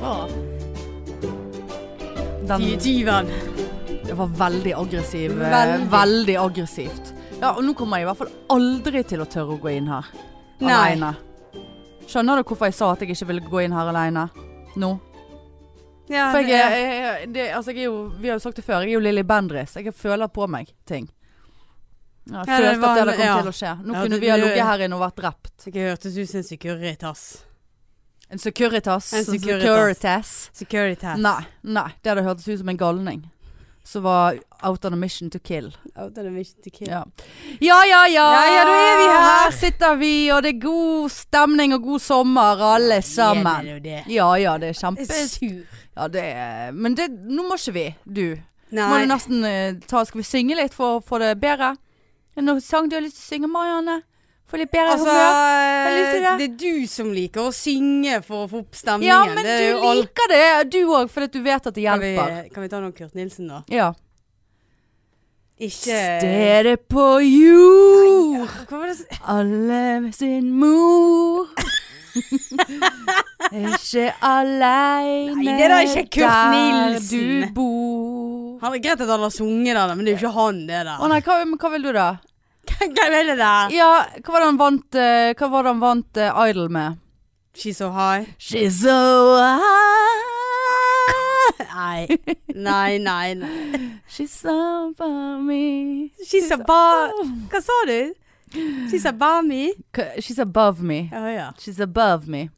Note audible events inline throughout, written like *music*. var Den, Givan. det var veldig aggressiv. eh, Veldig. veldig aggressivt. Ja, og nå kommer jeg i hvert fall aldri til å tørre å gå inn her Nei. aleine. Skjønner du hvorfor jeg sa at jeg ikke ville gå inn her aleine nå? Ja, For det- jeg, er- jeg, jeg, det, altså jeg er jo, vi har jo sagt det før, jeg er jo Lilly Bendriss. Jeg føler på meg ting. Ja, Jeg Ja, det følte var at det en- hadde kommet ja. til å skje. Nå Ja, kunne det- vi ha det- ligget her inne og vært drept. Så jeg hørtes ut som en Securitas. En Securitas. En Securitas. Securitas. Securitas. Nei, nei, det hadde hørtes ut som en galning. Som var out on a mission to kill. Out of the mission to kill. Ja. ja, ja, ja. Ja, ja, da er vi her. Her sitter vi, og det er god stemning og god sommer, alle Ja, sammen. det er jo det. Ja, ja, det er Jeg kjempe... er sur. Ja, det er... Men det, nå må ikke vi, du. Må Nei. du nesten eh, ta, skal vi synge litt for å få det bedre? Er det noen sang du har lyst til å synge, Marianne? Få litt bedre Altså, humør? har lyst til det. det er du som liker å synge for å få opp stemningen. Ja, men Det er jo du alt- liker det, du òg, fordi at du vet at det Kan vi, hjelper. kan vi ta noe Kurt Nilsen, da? Ja. Ikke Stedet på jord, Hva var det s- alle sin *laughs* mor. ikke aleine Nei, det er da ikke Kurt Nilsen. du bor. Han- Greit at han har sunget det, da, men det er jo ikke han, det der. Å nei, hva, men hva vil du da? Hvem er det der? Ja, hva var det han vant, eh, hva var det han vant eh, Idol med? She's so high. She's so high. Nei. Nei, nei. nei. She's up on me. She's above Hva sa du? She's above me. K- She's above me. Ja, ja. She's above me.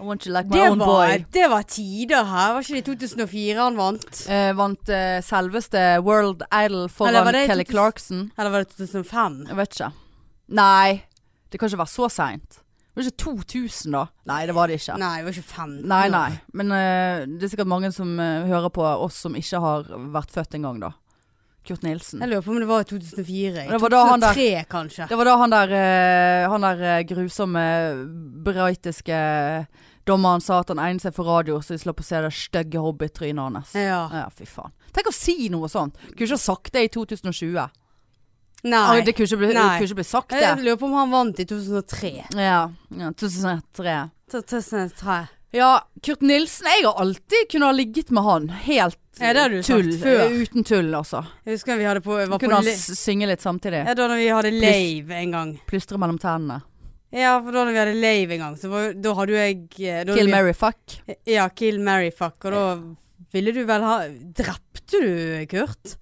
I want you like my Det own var, boy. det var tider her. Var ikke det i 2004 han vant? Eh, vant eh, selveste World Idol Eller var foran det i Kelly 2000? Clarkson. Eller var det 2005? Jeg vet ikke. Nei, det kan ikke være så seint. Det var ikke 2000, da. Nei, det var det ikke. Nei, det var ikke 15. Nei, nei. Men eh, det er sikkert mange som eh, hører på oss som ikke har vært født engang, da. Kurt Nilsen. Jeg lurer på om det var i 2004. Det var da han der- 2003, kanskje. Det var da han der, eh, han der eh, grusomme braitiske dommeren sa at han egnet seg for radio, så de slapp å se det stygge hobbytrynet hans. Ja. Ja, fy faen. Tenk å si noe sånt! Kunne ikke ha sagt det i 2020. Nei. Ah, Det kunne ikke bli, Nei. kunne ikke bli sagt, Jeg det. lurer på om han vant i 2003. Ja. ja 2003. 2003. Ja, Kurt Nilsen. Jeg har alltid kunnet ha ligget med han. Helt Ja, det har du tull. sagt før. Eh, Uten tull, altså. Jeg husker vi hadde på, var Kunne på han le- s- synge litt samtidig. ja, da når vi hadde lave en gang. Plystre mellom tennene. Ja, for da når vi hadde lave en gang, så var, da hadde jo jeg eh, da Kill, vi, marry, fuck. Ja, Kill Mary Fuck. Og da ville du vel ha Drepte du Kurt?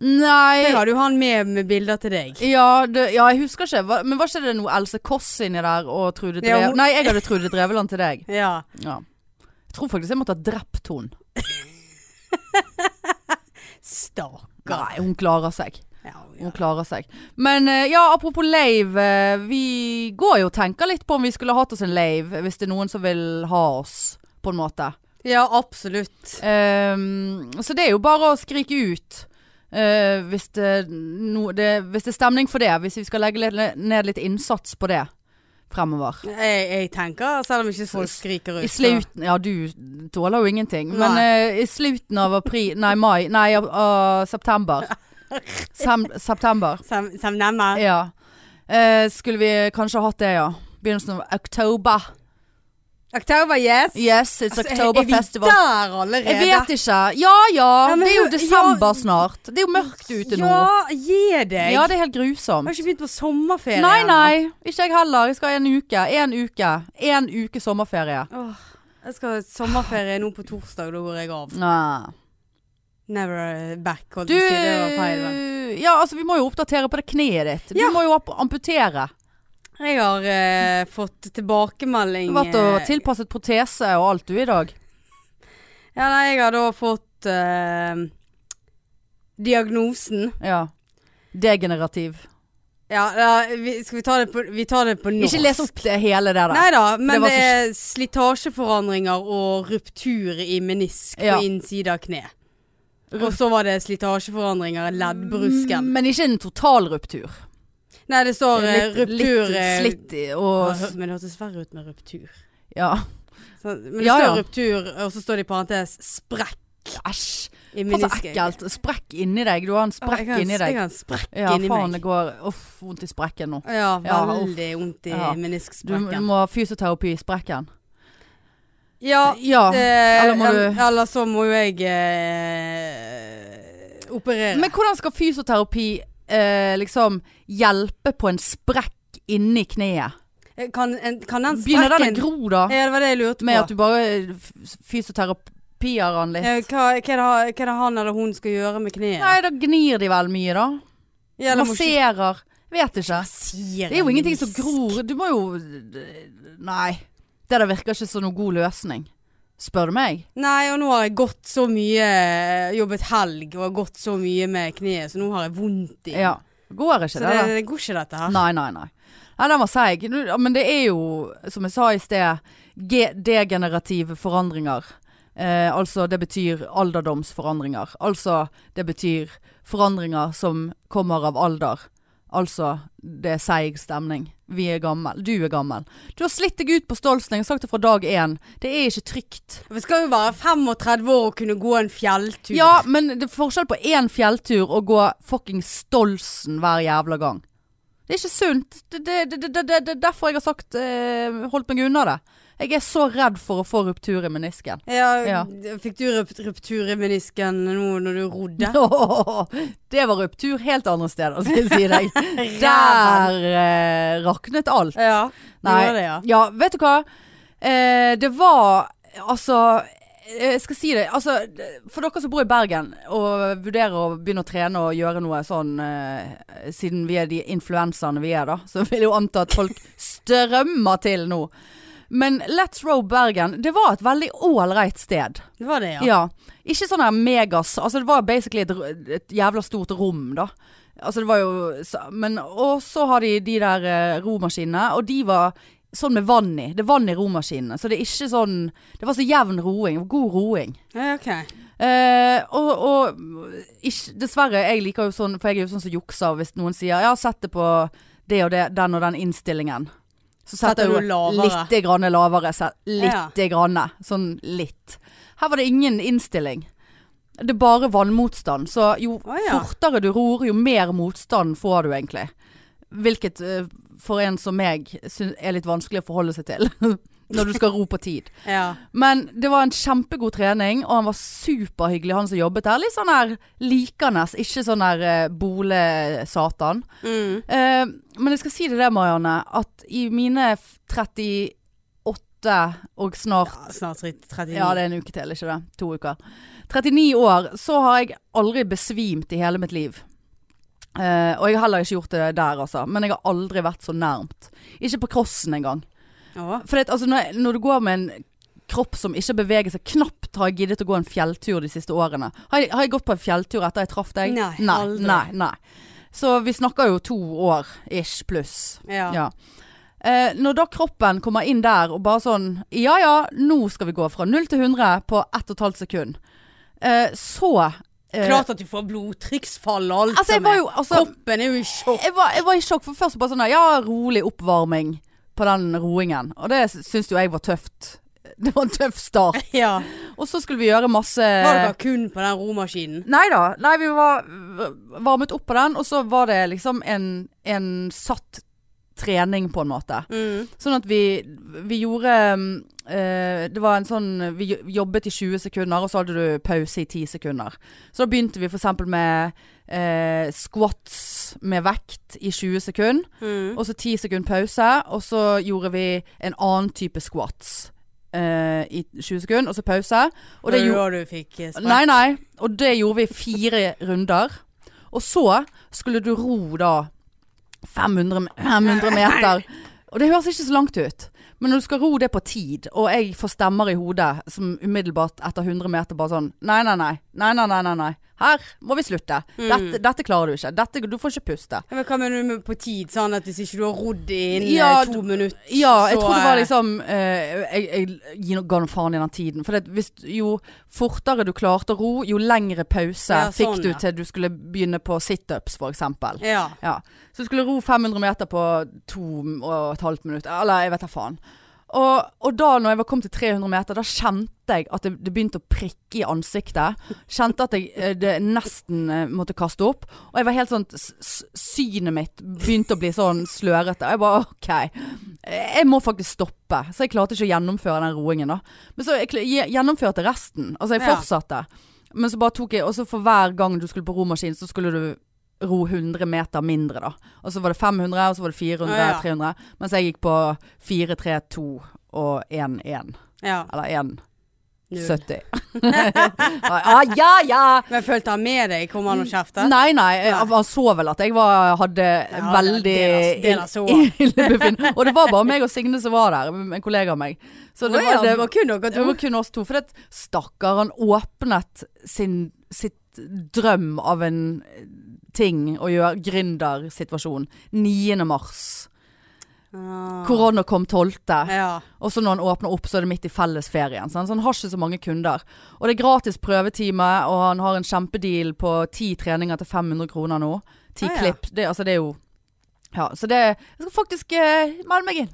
Jeg Nei hadde jo han med med bilder til deg. Ja, det, ja, jeg husker ikke. Hva- Men var ikke det noe Else Kåss inni der og Trude Ja, Drev... hun- Nei, jeg hadde Trude Dreveland til deg. Ja. Ja. Jeg tror faktisk jeg måtte ha drept hun. Stakkar. Nei, hun klarer seg. Ja, ja. Hun klarer seg. Men eh, ja, apropos lave. eh, Vi går jo og tenker litt på om vi skulle hatt oss en lave, hvis det er noen som vil ha oss, på en måte. ja, absolutt. Ehm, så det er jo bare å skrike ut. eh, hvis, det, no, det, hvis det er stemning for det. Hvis vi skal legge litt, ned litt innsats på det fremover. Jeg, jeg tenker, selv om ikke folk skriker ut I så- sluten, ja du tåler jo ingenting Men eh, i sluten av april Nei, mai, nei, av- av *laughs* september Sem, September Sem, semnemmer. Ja Eh, Skulle vi kanskje hatt det, ja Begynnelsen av oktober Oktober, yes. Yes, it's Altså, October festival Er vi der allerede? Jeg vet ikke Ja, ja, Ja, men det er jo hør- ja. desember snart Det er jo mørkt ute nå Ja, gi deg. Ja, det er helt Jeg grusomt har ikke begynt på sommerferie. Nei, ennå. nei, ikke jeg heller Jeg skal ha en uke, en uke En uke sommerferie Åh, jeg skal ha sommerferie nå på torsdag, da går jeg av. Nei Never back, holdt Du, jeg på å si. Det var feil. men. ja, altså, vi må jo oppdatere på det kneet ditt. Du Ja. må jo opp- amputere. Jeg har eh, fått Du tilbakemelding har vært og eh, tilpasset protese og alt du i dag. Ja, nei, jeg har da fått eh, diagnosen. Ja. Degenerativ. Ja, da, vi, skal vi ta det på, vi tar det på norsk? Ikke les opp det hele det der. Nei da, men det var det, er slitasjeforandringer og ruptur i menisk Ja. på innside av kne. Og så var det slitasjeforandringer i leddbrusken. Mm, Men ikke en total ruptur. Nei, det står eh, Litt, ruptur litt eh, slitt i- ja, og hø- Men det hørtes verre ut med ruptur. Ja. Så, men det Ja, står ja. ruptur, og så står det i parentes sprekk Æsj. i Faen så menisken. ekkelt. Sprekk inni deg. Du har en Å, jeg sprekk kan- inni Jeg deg. har en sprekk Ja, inni faen, det meg. går Uff, vondt i sprekken nå. Ja, Ja, veldig vondt i Ja. Du, du menisksprekken. må ha fysioterapi i sprekken. Ja, Ja. eh, eller må el- du- eller så må jo jeg eh, operere. Men hvordan skal fysioterapi eh, liksom hjelpe på en sprekk inni kneet? Eh, kan, en, kan den Begynner den å sprekken gro da? Ja, det var det jeg lurte på. Med at du bare eh, f- fysioterapier han litt? Eh, Hva, hva, er det, ha- hva er det han eller hun skal gjøre med kneet? Nei, da gnir de vel mye, da. Ja, eller må ikke- Masserer. Vet ikke. Sier Det er jo en ingenting som visk. gror. Du må jo Nei. Det der virker ikke som noen god løsning. Spør du meg? Nei, og nå har jeg gått så mye eh, Jobbet helg og har gått så mye med kneet, så nå har jeg vondt i Ja. Går Så ikke det, det, da? det går ikke dette her. Nei, nei, nei. Nei, den var seig. Nu- ja, Men det er jo, som jeg sa i sted, ge- degenerative forandringer. Eh, altså, det betyr alderdomsforandringer. Altså, det betyr forandringer som kommer av alder. Altså, det er seig stemning. Vi er gammel. Du er gammel. Du har slitt deg ut på Stolsning, sagt det fra dag én. Det er ikke trygt. Vi skal jo være 35 år og kunne gå en fjelltur. Ja, men det er forskjell på én fjelltur og gå fucking Stolsen hver jævla gang. Det er ikke sunt. Det er det, det, det, det, det er derfor jeg har sagt eh, holdt meg unna det. Jeg er så redd for å få ruptur i menisken. Ja, Ja. Fikk du rup ruptur i menisken nå når du *laughs* rodde? det var ruptur helt andre steder, skal jeg si deg. Ræven. Der eh, raknet alt. Ja. Nei. Gjorde det, ja. Ja, vet du hva? Eh, det var Altså eh, Jeg skal si det. Altså, det- for dere som bor i Bergen og vurderer å begynne å trene og gjøre noe sånn eh, Siden vi er de influenserne vi er, da, så vil jeg jo anta at *laughs* folk strømmer til nå. Men Let's Row Bergen, det var et veldig ålreit sted. Det var det, Ja. ja. Ikke sånn her megas Altså det var basically et, r- et jævla stort rom da Altså det var jo så- Men og så har de de der eh, romaskinene Og de var sånn med vann i Det er vann i romaskinene Så det er ikke sånn Det var så jevn roing God roing ja. Ok. Eh, og, og ikke, dessverre, jeg liker jo sånn, for jeg er jo sånn som jukser hvis noen sier ja, sett det på det og det, den og den innstillingen. Så Setter setter jeg du jo lavere. litt grann lavere. se- Ja. Litt. Grann, sånn litt. Her var det ingen innstilling. Det er bare vannmotstand. Så jo Å, ja. fortere du ror, jo mer motstand får du egentlig. Hvilket eh, for en som meg syn- er litt vanskelig å forholde seg til. *laughs* Når du skal ro på tid. Ja. Men det var en kjempegod trening, og han var superhyggelig, han som jobbet der. Litt sånn her likende, ikke sånn her eh, bole-satan. Mm. Eh, men jeg skal si det det, Marianne, at i mine f- 38 og snart ja snart 39. ja, det er en uke til, ikke det? To uker. 39 år, så har jeg aldri besvimt i hele mitt liv. Eh, og jeg har heller ikke gjort det der, altså. Men jeg har aldri vært så nærmt. Ikke på crossen engang. Å. For det, at, altså, når, når du går med en kropp som ikke beveger seg Knapt har jeg giddet å gå en fjelltur de siste årene. Har jeg, har jeg gått på en fjelltur etter jeg traff deg? Nei, nei, aldri. nei, nei. Så vi snakker jo to år ish pluss. Ja. Ja. Eh, når da kroppen kommer inn der og bare sånn Ja ja, nå skal vi gå fra 0 til 100 på 1 12 sekund. Eh, så eh, Klart at du får blodtrykksfall og alt Altså, jeg som var er- jo altså, Kroppen er jo i sjokk. *laughs* jeg, var, jeg var i sjokk, for først bare sånn der, Ja, rolig oppvarming på den roingen. Og det syns jo jeg var tøft. Det var en tøff start. Ja. Og så skulle vi gjøre masse Var det bare kun på den romaskinen? Nei da. Nei, vi var øh, varmet opp på den, og så var det liksom en, en satt trening, på en måte. Mm. Sånn at vi, vi gjorde mm, eh, Det var en sånn Vi jo- jobbet i 20 sekunder, og så hadde du pause i 10 sekunder. Så da begynte vi f.eks. med eh, squats med vekt i 20 sekunder. Mm. Og så 10 sekunder pause, og så gjorde vi en annen type squats eh, i 20 sekunder, og så pause. Og det Var gjorde da du fikk eh, sprekk? Nei, nei. Og det gjorde vi i fire runder. Og så skulle du ro da 500, m- 500 meter. Og det høres ikke så langt ut. Men når du skal ro det på tid, og jeg får stemmer i hodet som umiddelbart etter 100 meter bare sånn Nei, nei, nei. Nei, nei, nei. nei, nei. Her må vi slutte. Dette, dette klarer du ikke. Dette, du får ikke puste. Ja, Men hva mener du med på tid? Sånn at hvis ikke du har rodd innen Ja, eh, to minutter, Ja, jeg så, tror det var eh, liksom eh, Jeg, jeg gi no- ga noe faen i den tiden. For det, hvis, jo fortere du klarte å ro, jo lengre pause Ja, fikk sånn, du ja. til du skulle begynne på situps, for eksempel. Ja. Ja. Så du skulle ro 500 meter på to og et halvt minutt. Eller jeg vet da faen. Og, og da når jeg var kommet til 300 meter, da kjente jeg at det, det begynte å prikke i ansiktet. Kjente at jeg eh, det nesten eh, måtte kaste opp. Og jeg var helt sånn s- s- Synet mitt begynte å bli sånn slørete. Og jeg bare OK. eh, Jeg må faktisk stoppe. Så jeg klarte ikke å gjennomføre den roingen, da. Men så jeg kl- gje- gjennomførte resten. Altså, jeg Ja. fortsatte. Men så bare tok jeg Og så for hver gang du skulle på romaskin, så skulle du ro 100 meter mindre, da. Og så var det 500, og så var det 400, Å, ja. 300. Mens jeg gikk på 4, 3, 2 og 1, 1. Ja. Eller 1, Null. 70. ah, ja, ja! Men følte han med deg? Kom han og kjeftet? Nei, nei. jeg- Han så vel at jeg var, hadde veldig det- det la så han. ill- illebefinn. Og det var bare meg og Signe som var der, en kollega av meg. Så det Å ja, var, det, var kun dere det to. var kun oss to. For det stakkar, han åpnet sin, sitt drøm av en ting å gjøre, gründersituasjon, 9. mars. Ah. Korona kom 12. Ja. Og så når han åpner opp, så er det midt i fellesferien. sant? Så han har ikke så mange kunder. Og det er gratis prøvetime, og han har en kjempedeal på ti treninger til 500 kroner nå. Ti Ah, ja. klipp. Det, altså, det er jo Ja, så det Jeg skal faktisk eh, melde meg inn.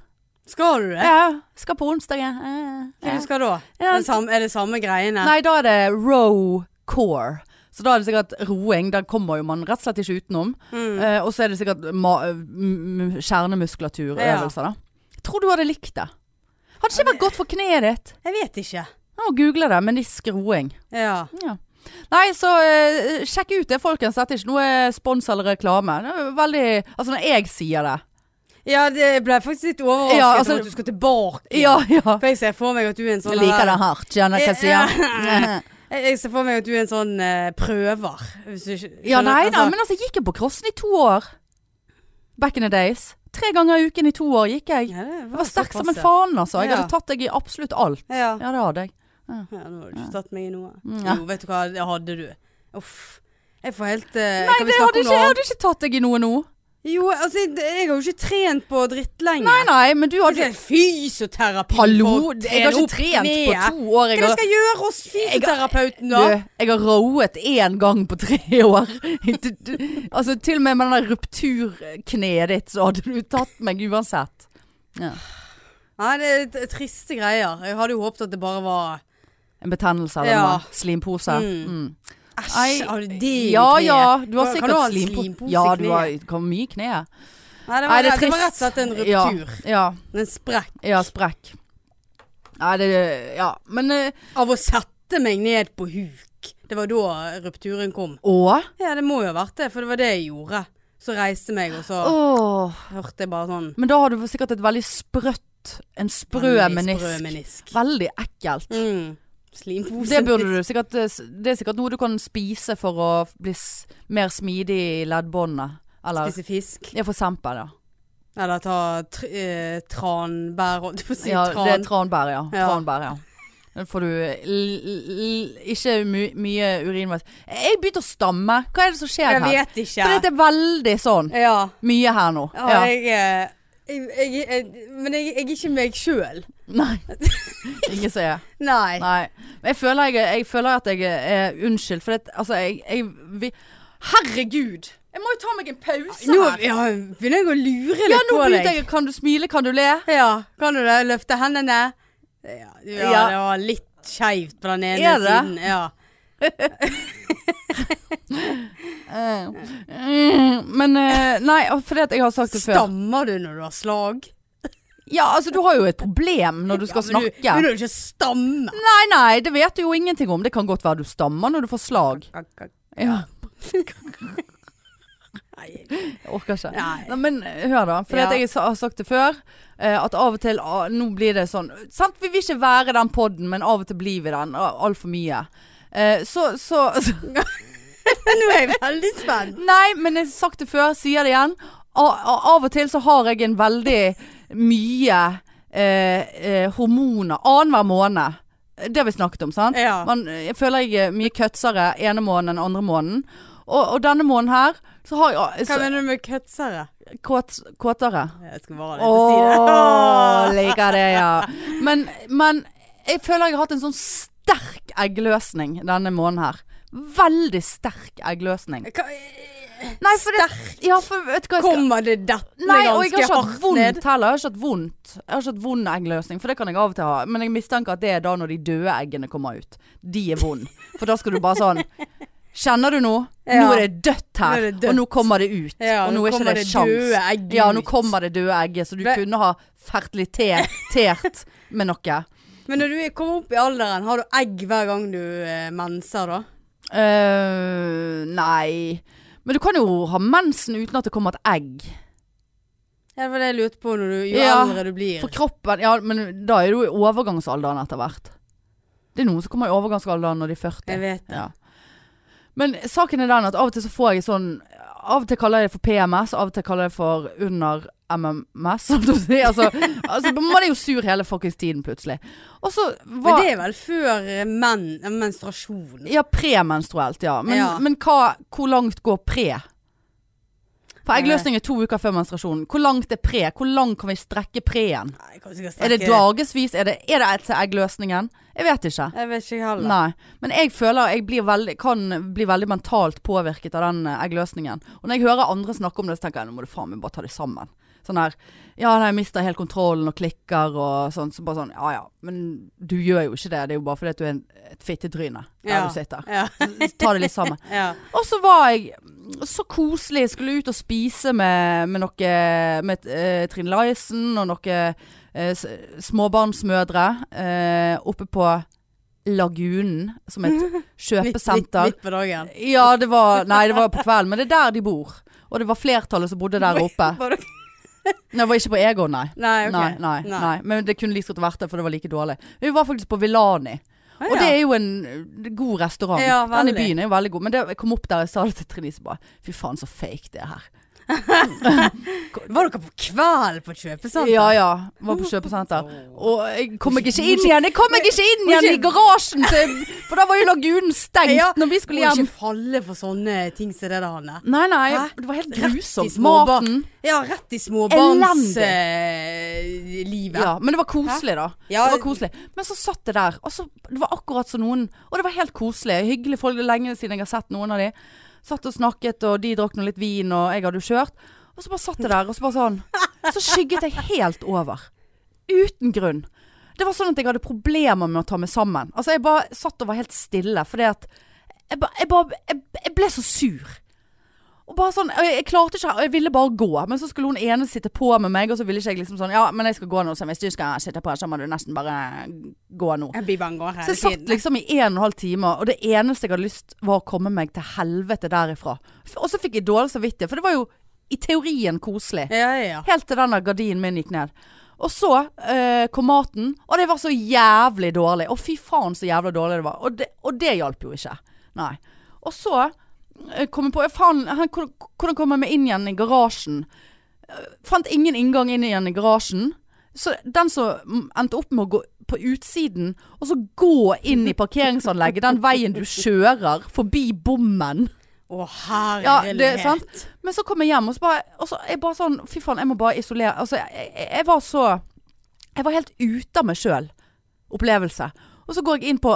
Skal du det? Ja, skal på onsdag, jeg. Eh, Hva eh. du skal da? Ja. Den samme, er det samme greiene? Nei, da er det row core. Så da er det sikkert roing. Den kommer jo man rett og slett ikke utenom. Mm. Eh, og så er det sikkert ma eh, m- m- kjernemuskulaturøvelser, da. Jeg tror du hadde likt det. Hadde ikke vært godt for kneet ditt. Jeg vet ikke. Jeg må google det, menisk roing. Ja. Ja. Nei, så eh, sjekk ut det, folkens. Dette er ikke noe spons eller reklame. Det er veldig Altså, når jeg sier det Ja, det ble jeg faktisk litt overrasket Ja, altså- over at du skal tilbake. Ja, ja. For jeg ser for meg at du er en sånn Jeg liker det hardt, skjønner du hva jeg *laughs* sier. Jeg, jeg ser for meg at du er en sånn eh, prøver. Hvis du ikke- Ja, skjønner- nei da, altså- men altså, jeg gikk jo på crossen i to år. Back in the days. Tre ganger i uken i to år gikk jeg. Ja, det Jeg var sterk som såpass, en faen, altså. Jeg Ja. hadde tatt deg i absolutt alt. Ja, Ja. det hadde jeg. ja, nå har du ikke tatt meg i noe. Ja. Jo, vet du hva, det hadde du. Uff. Jeg får helt eh, Nei, Kan vi det snakke hadde om ikke, jeg noe annet? hadde ikke tatt deg i noe nå. Jo, altså, jeg, jeg har jo ikke trent på dritt lenge. Nei, nei, men du hadde Det er fysioterapi. Hallo! for å Jeg har trene ikke opp trent på kneet. to år. Hva Jeg er det har jeg skal gjøre hos fysioterapeuten, da? Du, jeg har rowet én gang på tre *laughs* år. Du, du, altså, til og med med den der rupturkneet ditt, så hadde du tatt meg uansett. Nei, det er t- triste greier. Jeg hadde jo håpet at det bare var En betennelse eller Ja. noe. Slimpose. Mm. Mm. Nei. Æsj, har du det i Ja kneet? ja, du har Kan- kan du ha sikkert en slimpose. slimpose i Ja, du har kneet? kan mye i kneet. Nei, det var, Nei, det det, er var rett og trist. slett en Ja. ruptur. Ja, En sprekk. ja sprekk. Nei, det Ja, men eh, Av å sette meg ned på huk. Det var da rupturen kom. Å? Ja, det må jo ha vært det, for det var det jeg gjorde. Så reiste jeg meg, og så Åh. hørte jeg bare sånn Men da har du sikkert et veldig sprøtt En sprø veldig sprø menisk. menisk. Veldig ekkelt. Mm. Slimposen. Det burde du sikkert eh, Det er sikkert noe du kan spise for å bli s mer smidig i leddbåndene. Eller Spise fisk. Ja, for eksempel, ja. Eller ta tr eh, tranbær og Du får si ja tran. Det er tranbær, ja. Ja. Tranbær, ja. Da får du l l ikke my mye urinvei. Jeg begynte å stamme. Hva er det som skjer jeg her? vet ikke. For det er veldig sånn Ja. mye her nå. ja, Ja. Jeg, eh, jeg, jeg, jeg Men jeg, jeg er ikke meg sjøl. Nei. *laughs* Ingen som er Nei. Nei. Men jeg føler, jeg, jeg føler at jeg er unnskyldt, for det, altså jeg, jeg vi, Herregud! Jeg må jo ta meg en pause Nå her. ja, begynner jeg å lure litt Ja, nå på deg. begynte jeg. Kan du smile, kan du le? Ja, kan du det? Løfte hendene? Ja, ja, Ja. det var litt skeivt på den ene Er det? siden. Ja. Eh, Mm, men eh, nei, fordi at jeg har sagt det før. Stammer du når du har slag? Ja, altså du har jo et problem når du skal men Du snakke. begynner jo ikke å stamme. Nei, nei, det vet du jo ingenting om. Det kan godt være du stammer når du får slag. Ja, Nei. jeg orker ikke. Nei. Nei, men eh, hør da, for Ja. jeg sa- har sagt det før, eh, at av og til, ah, nå blir det sånn, sant, vi vil ikke være den podden, men av og til blir vi den, ah, alt for mye. Eh, så, så, *laughs* Nå er jeg veldig spent. nei, men jeg har sagt det før, sier det igjen, A- a- av og til så har jeg en veldig mye eh, eh, hormoner, annenhver måned, det har vi snakket om, sant? Ja. Man, jeg føler jeg er mye køtsere ene måneden enn andre måneden. Og, og denne måneden her, så har jeg så, Hva mener du med køtsere? kåt, kåtere. Jeg skal bare Å, *laughs* si det. liker det, ja. Men, men jeg føler jeg har hatt en sånn sterk eggløsning denne måneden her. Veldig sterk eggløsning. Hva, Nei, for det, Sterkt ja, for vet du hva jeg skal kommer det dettende Nei, og jeg ganske har ikke hatt hardt ned. vondt heller. Jeg har ikke hatt vondt Jeg har ikke hatt vond eggløsning, for det kan jeg av og til ha. Men jeg mistenker at det er da når de døde eggene kommer ut. De er vond. For da skal du bare sånn Kjenner du nå? Nå Ja. er det dødt her. Nå er det dødt. Og nå kommer det ut. Ja, og nå, nå er ikke kommer det det sjans. døde egget Ja, nå ut. kommer det døde egget. Så du Det- kunne ha fertilitert med noe. Men når du er- kommer opp i alderen, har du egg hver gang du eh, menser da? Eh, nei. Men du kan jo ha mensen uten at det kommer et egg. Ja, Det var det jeg lurte på når du, jo Ja, eldre du blir. For kroppen Ja, men da er du i overgangsalderen etter hvert. Det er noen som kommer i overgangsalderen når de er 40. Jeg vet det. Ja. Men saken er den at av og til så får jeg sånn Av og til kaller jeg det for PMS, av og til kaller jeg det for under MMS. Som du sier. Altså, altså man er jo sur hele fuckings tiden plutselig. Og så Men var det er vel før eh, men, eh, menstruasjon? Ja, premenstruelt, ja. Men, Ja. men hva, hvor langt går pre? For Eh. eggløsning er to uker før menstruasjonen. Hvor langt er pre? Hvor langt kan vi strekke preen? Nei, kanskje jeg skal Er det strekke- dagevis? Er det, er det etter eggløsningen? Jeg vet ikke. Jeg vet ikke heller. Nei, men jeg føler jeg blir veldig, kan bli veldig mentalt påvirket av den eh, eggløsningen. Og når jeg hører andre snakke om det, så tenker jeg nå må du faen meg bare ta det sammen. Sånn her Ja, nei, jeg mister helt kontrollen og klikker og sånn. Så bare sånn Ja ja, men du gjør jo ikke det. Det er jo bare fordi at du er en, et fittetryne der Ja. du sitter. Ja, Ta det litt sammen. ja. Og så var jeg så koselig. Jeg skulle ut og spise med, med noe Med eh, Trine Lysen og noe eh, s- småbarnsmødre eh, oppe på Lagunen, som *laughs* er et kjøpesenter. Midt, midt på dagen. Ja, det var Nei, det var på kvelden, men det er der de bor. Og det var flertallet som bodde der oppe. Var det- Nei, det var ikke på Egon, nei. Nei, ok. Nei, nei, nei. Men det kunne like godt vært det, for det var like dårlig. Vi var faktisk på Villani. Ah, Og ja. det er jo en eh, god restaurant. Ja, Den i veldig. byen er jo veldig god. Men det, jeg kom opp der og sa det til Trine, så bare Fy faen, så fake det er her. Var dere på kveld på kjøpesenter? Ja ja, var på kjøpesenter. Og jeg kom meg ikke inn igjen! Jeg kom meg ikke inn må igjen i ikke- garasjen! Til, for da var jo lagunen stengt Ja, når vi Du skulle må hjem. ikke falle for sånne ting som det der, Hanne. Nei, nei. Hæ? Det var helt Rett i grusomt. småbarn. Maten. Ja, rett i småbarnslivet. Elendig. Eh, livet. Ja, men det var koselig, da. Ja. Det var koselig. Men så satt det der, og så, det var akkurat som noen. Og det var helt koselig. Hyggelig folk. Det er lenge siden jeg har sett noen av de. Satt og snakket, og de drakk nå litt vin, og jeg hadde jo kjørt. Og så bare satt det der, og så bare *laughs* sånn. Så skygget jeg helt over. Uten grunn. Det var sånn at jeg hadde problemer med å ta meg sammen. Altså, jeg bare satt og var helt stille, fordi at jeg, ba, jeg, bare- jeg, jeg ble så sur. Og bare sånn, jeg, jeg klarte ikke, og jeg ville bare gå. Men så skulle hun ene sitte på med meg, og så ville ikke jeg liksom sånn Ja, men jeg skal gå nå, så hvis du skal sitte på, så må du nesten bare gå nå. Jeg blir bare gående Så hele jeg satt tiden. liksom i en og en halv time, og det eneste jeg hadde lyst var å komme meg til helvete derifra. F- Og så fikk jeg dårlig samvittighet, for det var jo i teorien koselig. Ja, ja, ja. Helt til denne gardinen min gikk ned. Og så eh, kom maten, og det var så jævlig dårlig. Å, fy faen så jævlig dårlig det var. Og det, og det hjalp jo ikke. Nei. Og så eh, kom jeg på Faen, her- hvordan hvordan kom jeg meg inn igjen i garasjen? Eh, fant ingen inngang inn igjen i garasjen. Så den som mm, endte opp med å gå på utsiden, og så gå inn i parkeringsanlegget, den veien du kjører forbi bommen Å, ja, herlighet. det, sant? Men så kom jeg hjem, og så bare, og så jeg bare sånn Fy faen, jeg må bare isolere. Altså, jeg, jeg, jeg var så Jeg var helt ute av meg sjøl. Opplevelse. Og så går jeg inn på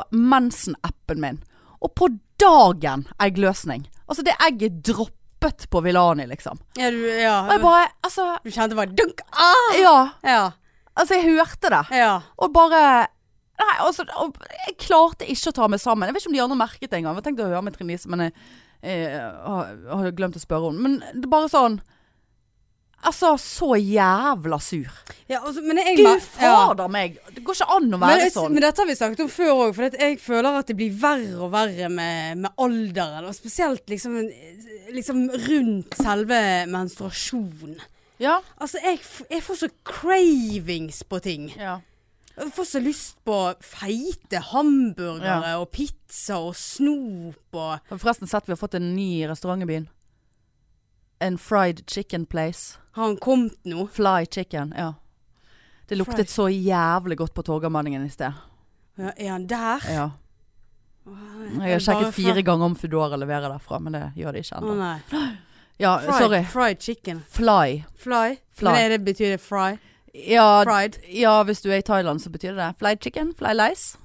mensen-appen min, og på dagen eggløsning. Altså, det egget droppet på Villani, liksom. Ja, du, ja. Og jeg bare Altså, du kjente bare dunk! Ah! ja. Ja. Altså, jeg hørte det. ja. Og bare Nei, altså og Jeg klarte ikke å ta meg sammen. Jeg vet ikke om de andre merket det engang. Jeg tenkte å høre med Trine Lise, men jeg, jeg, har- hadde glemt å spørre henne. Men det er bare sånn Altså, så jævla sur. ja altså, men jeg Du mer- ja. fader meg! Det går ikke an å Men, være jeg- sånn. men dette har vi snakket om før òg, for at jeg føler at det blir verre og verre med, med alderen. Og spesielt liksom, liksom rundt selve menstruasjonen. Ja. Altså, jeg, f- jeg får så cravings på ting. ja. Jeg får så lyst på feite hamburgere Ja. og pizza og snop og Har vi forresten sett vi har fått en ny restaurant i byen? En fried chicken place. Har han kommet nå? Fly chicken. Ja. Det luktet Fried. så jævlig godt på Torgallmanningen i sted. Ja, er han der? Ja. Åh, Jeg har bare sjekket fra- fire ganger om Foodora leverer derfra, men det gjør de ikke Å ennå. nei. Ja, Fried, sorry. fried chicken. Fly. Fly? Fly. Men er det, betyr det fry? Ja, Fried? ja, hvis du er i Thailand, så betyr det det. Fly chicken, fly lice.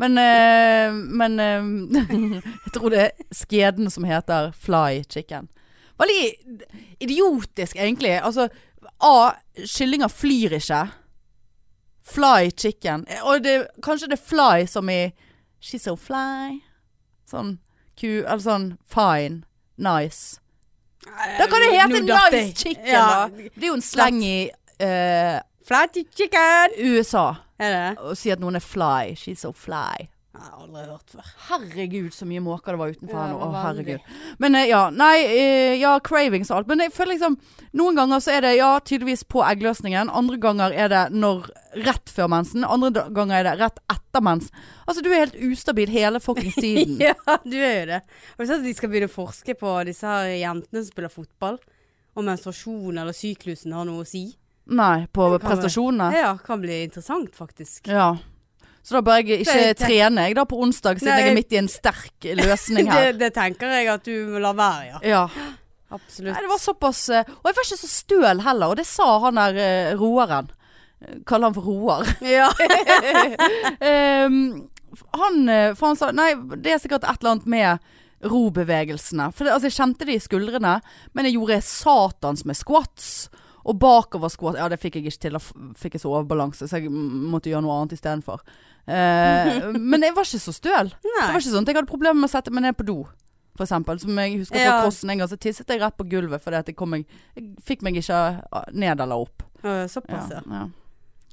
Men, *laughs* eh, men eh, jeg tror det er skjeden som heter fly chicken. Hva Veldig idiotisk, egentlig. Altså, A. Kyllinger flyr ikke. Fly chicken. Og det, kanskje det er fly som i She's so fly. Sånn ku... Eller sånn fine. Nice. Da kan det hete Nå datt nice jeg. chicken, Ja. da. Det er jo en sleng i eh, Flatty chicken! USA Er det det? å si at noen er fly. She's so fly. Jeg har aldri hørt før. Herregud, så mye måker det var utenfor Ja, her nå. det var Å, veldig. herregud. Men eh, ja, nei, eh, ja, cravings og alt. Men jeg føler liksom Noen ganger så er det ja, tydeligvis på eggløsningen. Andre ganger er det når rett før mensen. Andre da- ganger er det rett etter mens. Altså, du er helt ustabil hele fuckings tiden. *laughs* Ja, du er jo det. Har du sett at de skal begynne å forske på disse her jentene som spiller fotball? Om menstruasjon eller syklusen har noe å si? Nei, på Det kan være. prestasjonene. Ja, kan bli interessant, faktisk. Ja. Så da bør jeg ikke Det- det- trene jeg da på onsdag, siden Nei. jeg er midt i en sterk løsning *laughs* Det, her. det tenker jeg at du må la være, ja. Ja. Absolutt. Nei, det var såpass eh, Og jeg var ikke så støl heller, og det sa han der eh, roeren. Eh, Kaller han for roer. *laughs* Ja. *laughs* Ehm, han, eh, for han sa Nei, det er sikkert et eller annet med robevegelsene. For det, altså, jeg kjente det i skuldrene, men jeg gjorde satans med squats. Og bakover squats Ja, det fikk jeg ikke til. Da f- fikk jeg så overbalanse, så jeg m- måtte gjøre noe annet istedenfor. Uh, men jeg var ikke så støl. Det var Nei. ikke sånn at jeg hadde problemer med å sette meg ned på do. For eksempel, som jeg husker fra Ja. crossen en gang, så tisset jeg rett på gulvet fordi at jeg, kom meg, jeg fikk meg ikke ah, ned eller opp. Ja, Å, Såpass, ja. ja.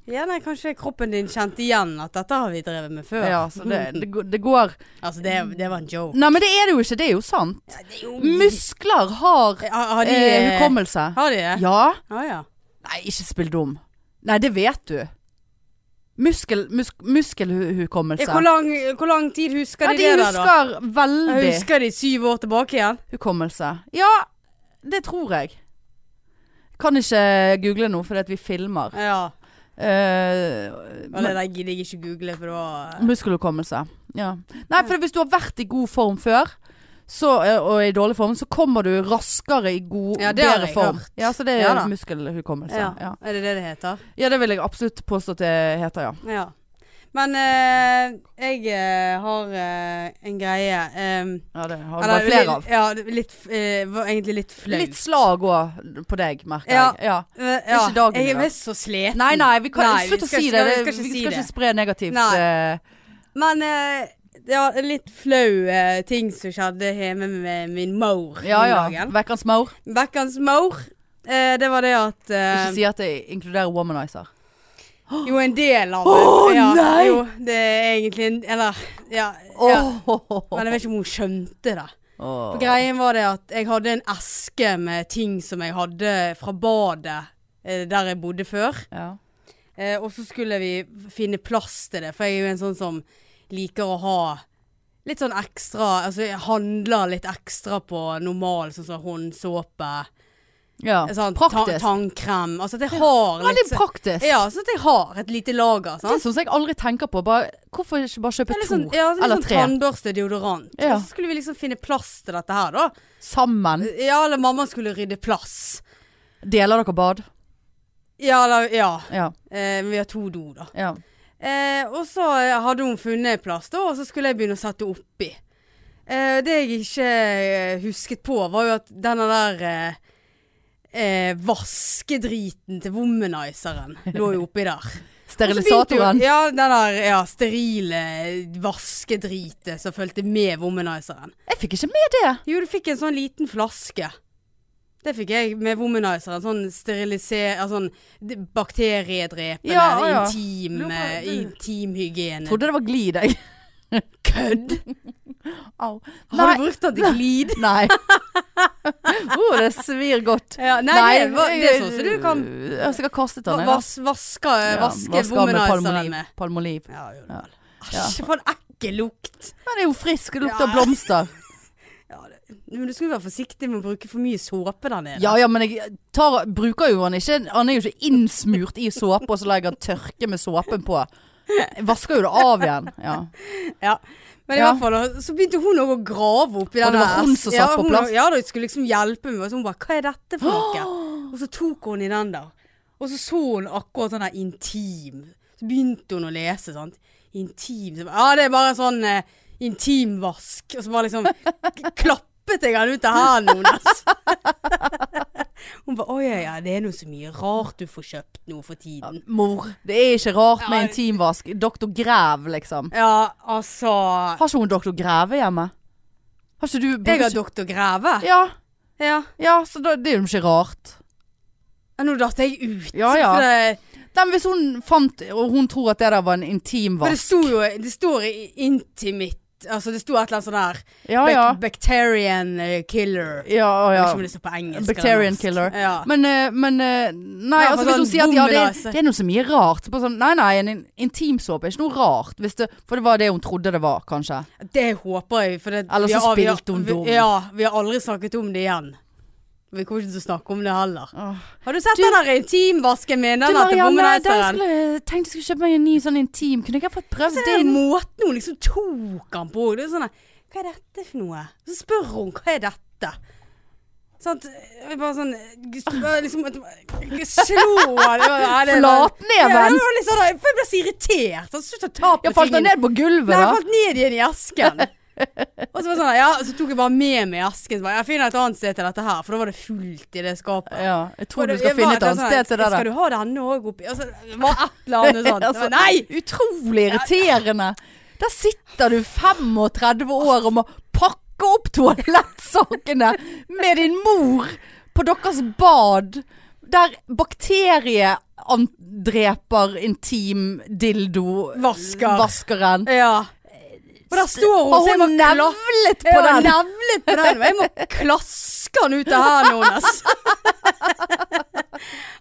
Ja, nei, kanskje kroppen din kjente igjen at dette har vi drevet med før. ja så *laughs* det, det, går- det går Altså, det, det var en joke. Nei, men det er det jo ikke. Det er jo sant. Mus... Muskler har Har, har de eh, eh, hukommelse. Har de det? Ja. Ja. Ah, ja. Nei, ikke spill dum. Nei, det vet du. Muskel, mus, muskelhukommelse. Ja, hvor, lang, hvor lang tid husker Altså. ja, de, de det der, da? husker veldig Husker de syv år tilbake igjen? hukommelse. Ja, det tror jeg. Kan ikke google nå fordi at vi filmer. Ja. Eh, Og det der gidder jeg ikke google, for da Muskelhukommelse. Ja. Nei, for hvis du har vært i god form før så, eh, og i dårlig form, så kommer du raskere i god, Ja, det har bedre jeg form. hørt. Ja, så det er Ja da. muskelhukommelse. Ja. ja. Ja. Er det det det heter? det vil jeg absolutt påstå at det heter, ja. Ja. Men eh, jeg eh, har eh, en greie eh, ja det har du eller bare flere av. litt- Ja, det- litt, eh, var egentlig litt flaut. Litt slag òg på deg, merker Ja. jeg. Ja. Eh, ja, ikke dagen i Jeg dag. er så sliten. Nei, nei, vi kan, Nei, vi slutt å skal si det. ikke- vi det. skal ikke vi si skal det. ikke spre negativt. Nei. eh, Men eh, ja, litt flau eh, ting som skjedde hjemme med min mor ja, om ja. dagen. Vekkans maur. Vekkens mor, eh, det var det at eh, Ikke si at det inkluderer womanizer. Jo, en del av det. Åh, ja, nei! Jo, det er egentlig en Eller, ja. ja. *laughs* Men jeg vet ikke om hun skjønte det. Åh. For greien var det at jeg hadde en eske med ting som jeg hadde fra badet eh, der jeg bodde før. Ja. Eh, og så skulle vi finne plass til det, for jeg er jo en sånn som liker å ha litt sånn ekstra Altså jeg handler litt ekstra på normal, sånn som håndsåpe, ja. sånn, ta Praktisk. tannkrem Altså at jeg har Veldig litt praktisk. Ja, sånn at jeg har et lite lager. Det Sant? syns jeg aldri tenker på. Bare, hvorfor ikke bare kjøpe Det er litt to sånn, ja, litt eller sånn tre tannbørste, deodorant. Ja. Og så skulle vi liksom finne plass til dette her, da. sammen? Ja, eller mamma skulle rydde plass. Deler dere bad? Ja, eller Ja. Ja. Eh, vi har to do, da. ja. Eh, og så hadde hun funnet en plass, da, og så skulle jeg begynne å sette oppi. Eh, det jeg ikke eh, husket på, var jo at denne der eh, eh, vaskedriten til womanizeren lå jo oppi *laughs* der. Og så begynte jo- Sterilisatoren? Ja, den der ja, sterile vaskedritet som fulgte med womanizeren. Jeg fikk ikke med det. Jo, du fikk en sånn liten flaske. Det fikk jeg med womanizeren. Sånn steriliser... Sånn d- bakteriedrepende, Ja, ja. intim, Lurer på- eh, du- intimhygiene. Trodde det var glid, jeg. *laughs* Kødd! *laughs* Au. Har Nei. du brukt den til glid? *laughs* Nei. oh, det svir godt. Ja, nei, det, var, det er sånn som du kan Jeg har sikkert kastet den. jeg, da. vas, vaske, Ja, vaske vasker med womanizeren palmoliv. med. palmoliv. Ja, gjør det Ja. vel. Æsj, for en ekkel lukt. Men det er jo frisk. Det lukter Ja. *laughs* blomster. Men du skulle være forsiktig med å bruke for mye såpe der nede. Ja ja, men jeg tar, bruker jo han ikke Han er jo ikke innsmurt i såpe, og så legger han tørke med såpen på. Jeg vasker jo det av igjen. Ja. Ja. Men i Ja. hvert fall, så begynte hun også å grave oppi Og det var hun som satt på plass? Ja, da skulle liksom hjelpe meg. Og så hun bare 'hva er dette for noe?' *gasps* Og så tok hun i den der. Og så så hun akkurat sånn der intim. Så begynte hun å lese, sant. Intim så, Ja, det er bare sånn eh, *laughs* intimvask. Og så bare liksom k- klappet jeg han ut av hendene hennes. *laughs* Hun bare 'Å ja, ja, det er nå så mye rart du får kjøpt nå for tiden'. Mor, det er ikke rart med Ja. intimvask. Doktor Grev, liksom. Ja, altså Har ikke hun doktor Greve hjemme? Har ikke du Jeg har doktor Greve. Ja, Ja. ja så da, det er jo ikke rart. Ja, Nå datt jeg ut. Ja, ja. For det, Nei, men hvis hun fant Og hun tror at det der var en for det intimvask. sto jo Det står i- intimate Altså, det sto et eller annet sånn der Ja, ja. Bac- Bacterian eh, killer. ja, å, Jeg ja. vet ikke om det står på engelsk. eller Bacterian norsk. killer. Ja. Men, eh, men eh, Nei, Ja, altså for hvis sånn hun sier at ja, det, bomulase. er- det er noe så mye rart. Så bare sånn, nei, nei, en in- intimsåpe er ikke noe rart. Hvis det, for det var det hun trodde det var, kanskje. Det håper jeg. For det, Eller vi så har- vi har- spilte hun vi- dum. Ja, vi har aldri snakket om det igjen. Vi kommer ikke til å snakke om det heller. Åh. Har du sett Du- den der intimvasken min? Den Du, etter Marianne, den Womanizeren? skulle, jeg tenkte jeg skulle kjøpe meg en ny sånn intim. Kunne ikke jeg fått prøvd Så det er din? måten hun eh, liksom tok han på. Det er sånn der, Hva er dette for noe? Så spør hun hva er dette? Sant? Jeg Bare sånn eh, liksom, eh, Slå han Ja, det er- Ja, Flatneven! det var litt sånn der, for Jeg ble så irritert. Han sluttet å ta på Ja, falt han tingene. ned på gulvet, Nei, jeg da? falt ned igjen i esken. Og så, var det sånn, ja, så tok jeg bare med meg esken. så Bare, jeg finner et annet sted til dette her, for da var det fullt i det skapet. Ja, jeg Og tror du det- skal jeg finne var- et det var annet sånn, sted til det Skal der. du ha det andre òg oppi? Altså, det var et eller *laughs* annet sånt. Det Altså, var, sånn. nei! Utrolig irriterende. Der sitter du 35 år og må pakke opp toalettsakene med din mor på deres bad. Der bakterieandreper Vasker. intim-dildo-vaskeren Ja. Og der står hun, så jeg Og må hun kla- nevlet på jeg var den! nevlet på den. og Jeg må klaske den ut av hendene hennes.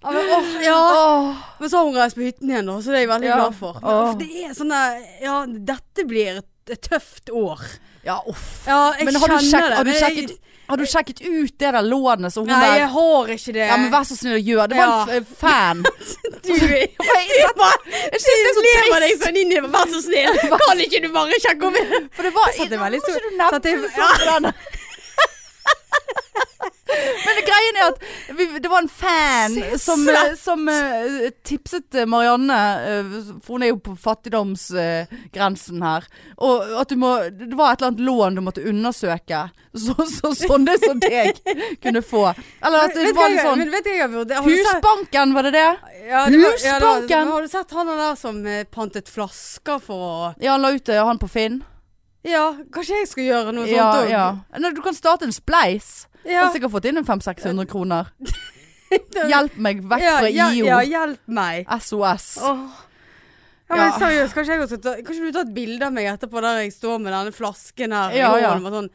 Ja, men, åh, ja. Åh. Men så har hun reist på hytten igjen, da, så det er jeg veldig Ja. glad for. Men, Åh. for det er sånn der Ja, dette blir et et tøft år. Ja, uff. Ja, jeg Men har du, kjenner sjekk, det. har, du men jeg- sjekket, har du sjekket ut det der lånet som hun Nei, jeg der har ikke det. Ja, men vær så snill og gjør det. Det var en f- *laughs* fan. Du, du Jeg bare synes det er så lever deg trist. sånn inn i det. Vær så snill, kan ikke du bare sjekke om For det var Da satt jeg veldig Hvorfor stor- ikke du satt jeg- nevnte sånn på den? *laughs* Men greien er at vi, det var en fan som, eh, som eh, tipset eh, Marianne, eh, for hun er jo på fattigdomsgrensen her, og at du må, det var et eller annet lån du måtte undersøke. Så, så, sånne som deg kunne få. Eller at det Vet du hva var jeg- litt sånn men vet du hva jeg har vurdert? Har du sett- Husbanken, var det det? Ja, det var- ja, det var- Husbanken! Har du sett han der som eh, pantet flasker for å Ja, han la ut det, han på Finn. Ja, kanskje jeg skal gjøre noe Ja, sånt òg? ja. Altså, Nei, du kan starte en spleis. Ja. Har sikkert fått inn en 500-600 *laughs* kroner. Hjelp meg vekk Ja, fra ja, IO. Ja, hjelp meg. SOS. Åh. Ja, men Ja. seriøst, kanskje jeg også ta, Kanskje du tar et bilde av meg etterpå der jeg står med denne flasken her Ja, i ja. hånden, med sånn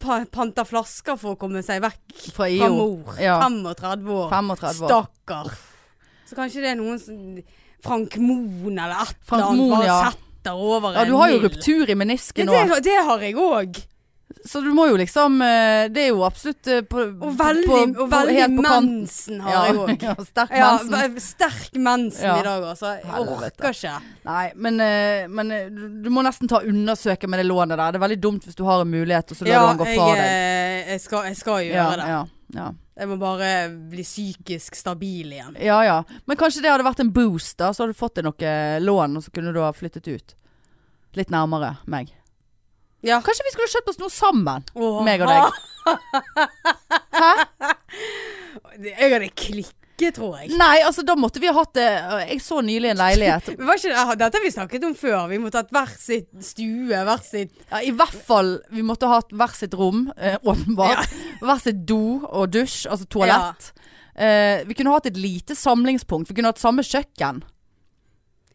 pa, panta flasker for å komme seg vekk Fra fra IO. mor. Ja. 35 år. 35 år. Stakkar. Så kanskje det er noen som Frank Moen eller et Frank eller annet Moen, bare ja. setter over Ja, du har jo mild. ruptur i Ja, menisken nå. det, det har jeg òg. Så du må jo liksom eh, Det er jo absolutt eh, på, Og veldig, på- og på- veldig helt på kant. mensen har jeg *laughs* òg. ja, sterk Ja, mensen. ve- sterk mensen Ja. i dag, altså. Jeg Helvete. orker ikke. Nei, men, eh, men eh, du- du må nesten ta undersøke med det lånet der. Det er veldig dumt hvis du har en mulighet, og så lar du han gå fra jeg, deg. eh, Jeg skal, jeg skal gjøre Ja, det. ja, ja. Jeg må bare bli psykisk stabil igjen. Ja ja. Men kanskje det hadde vært en boost, da. Så hadde du fått deg noe lån, og så kunne du ha flyttet ut. Litt nærmere meg. Ja. Kanskje vi skulle kjøpt oss noe sammen, Åh. meg og *laughs* deg. Jeg hadde klikket, tror jeg. Nei, altså da måtte vi ha hatt det Jeg så nylig en *laughs* leilighet. Men var ikke, det- ah, dette har vi snakket om før. Vi måtte hatt hver sitt stue, hver sitt Ja, I hvert fall vi måtte ha hatt hvert sitt rom, eh, åpenbart. Hvert sitt do og dusj, altså toalett. Eh, vi kunne hatt et lite samlingspunkt. Vi kunne hatt samme kjøkken.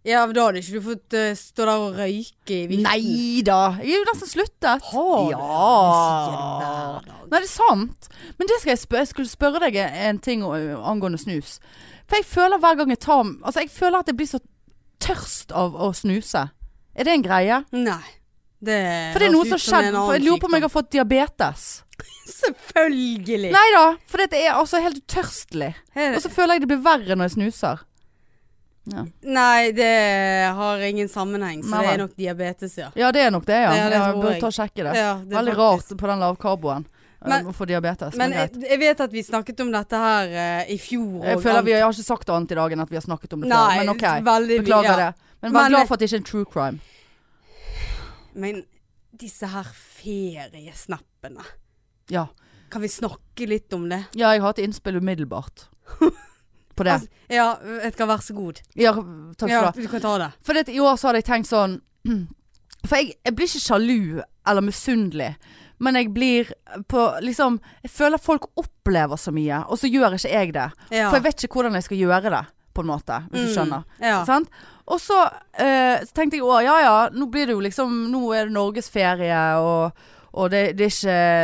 Ja, men da hadde ikke du fått eh, stå der og røyke i viften. Nei da! Jeg er jo nesten sluttet. Har du? Ja. Jeg sier det hver dag. Nei, det er sant. Men det skal jeg, spør jeg skulle spørre deg en ting o- angående snus. For jeg føler hver gang jeg tar Altså, jeg føler at jeg blir så tørst av å snuse. Er det en greie? Nei. Det For det er noe høres ut som har en skjedd. annen For jeg lurer på om jeg sykdom. har fått diabetes. Selvfølgelig. Nei da, for dette er altså helt utørstelig. Er Og det- så føler jeg det blir verre når jeg snuser. Nei, det har ingen sammenheng, så Nei, det er vel. nok diabetes, ja. Ja, det er nok det, ja. Ja, det ja jeg tror bør jeg. ta og sjekke det. ja det er Veldig faktisk- rart på den lavkarboen. eh, Men- Å få diabetes. Men Men jeg, greit. jeg vet at vi snakket om dette her eh, i fjor. Jeg og føler alt. vi, jeg har ikke sagt annet i dag enn at vi har snakket om det Nei, før. Men ok. veldig, Beklager ja. det. Men vær Men- glad for at det ikke er en true crime. Men disse her feriesnappene Ja. Kan vi snakke litt om det? Ja, jeg har et innspill *laughs* umiddelbart på det. Altså, ja, vet du hva, vær så god. Ja, takk skal du Ja, ha. du kan ta det. For det, at i år så hadde jeg tenkt sånn *clears throat* For jeg, jeg blir ikke sjalu eller misunnelig. Men jeg blir på liksom Jeg føler folk opplever så mye, og så gjør ikke jeg det. Ja. For jeg vet ikke hvordan jeg skal gjøre det, på en måte. Hvis du skjønner. Mm, ja. Sant? Og så eh, så tenkte jeg å ja ja, nå blir det jo liksom Nå er det norgesferie og og det, det er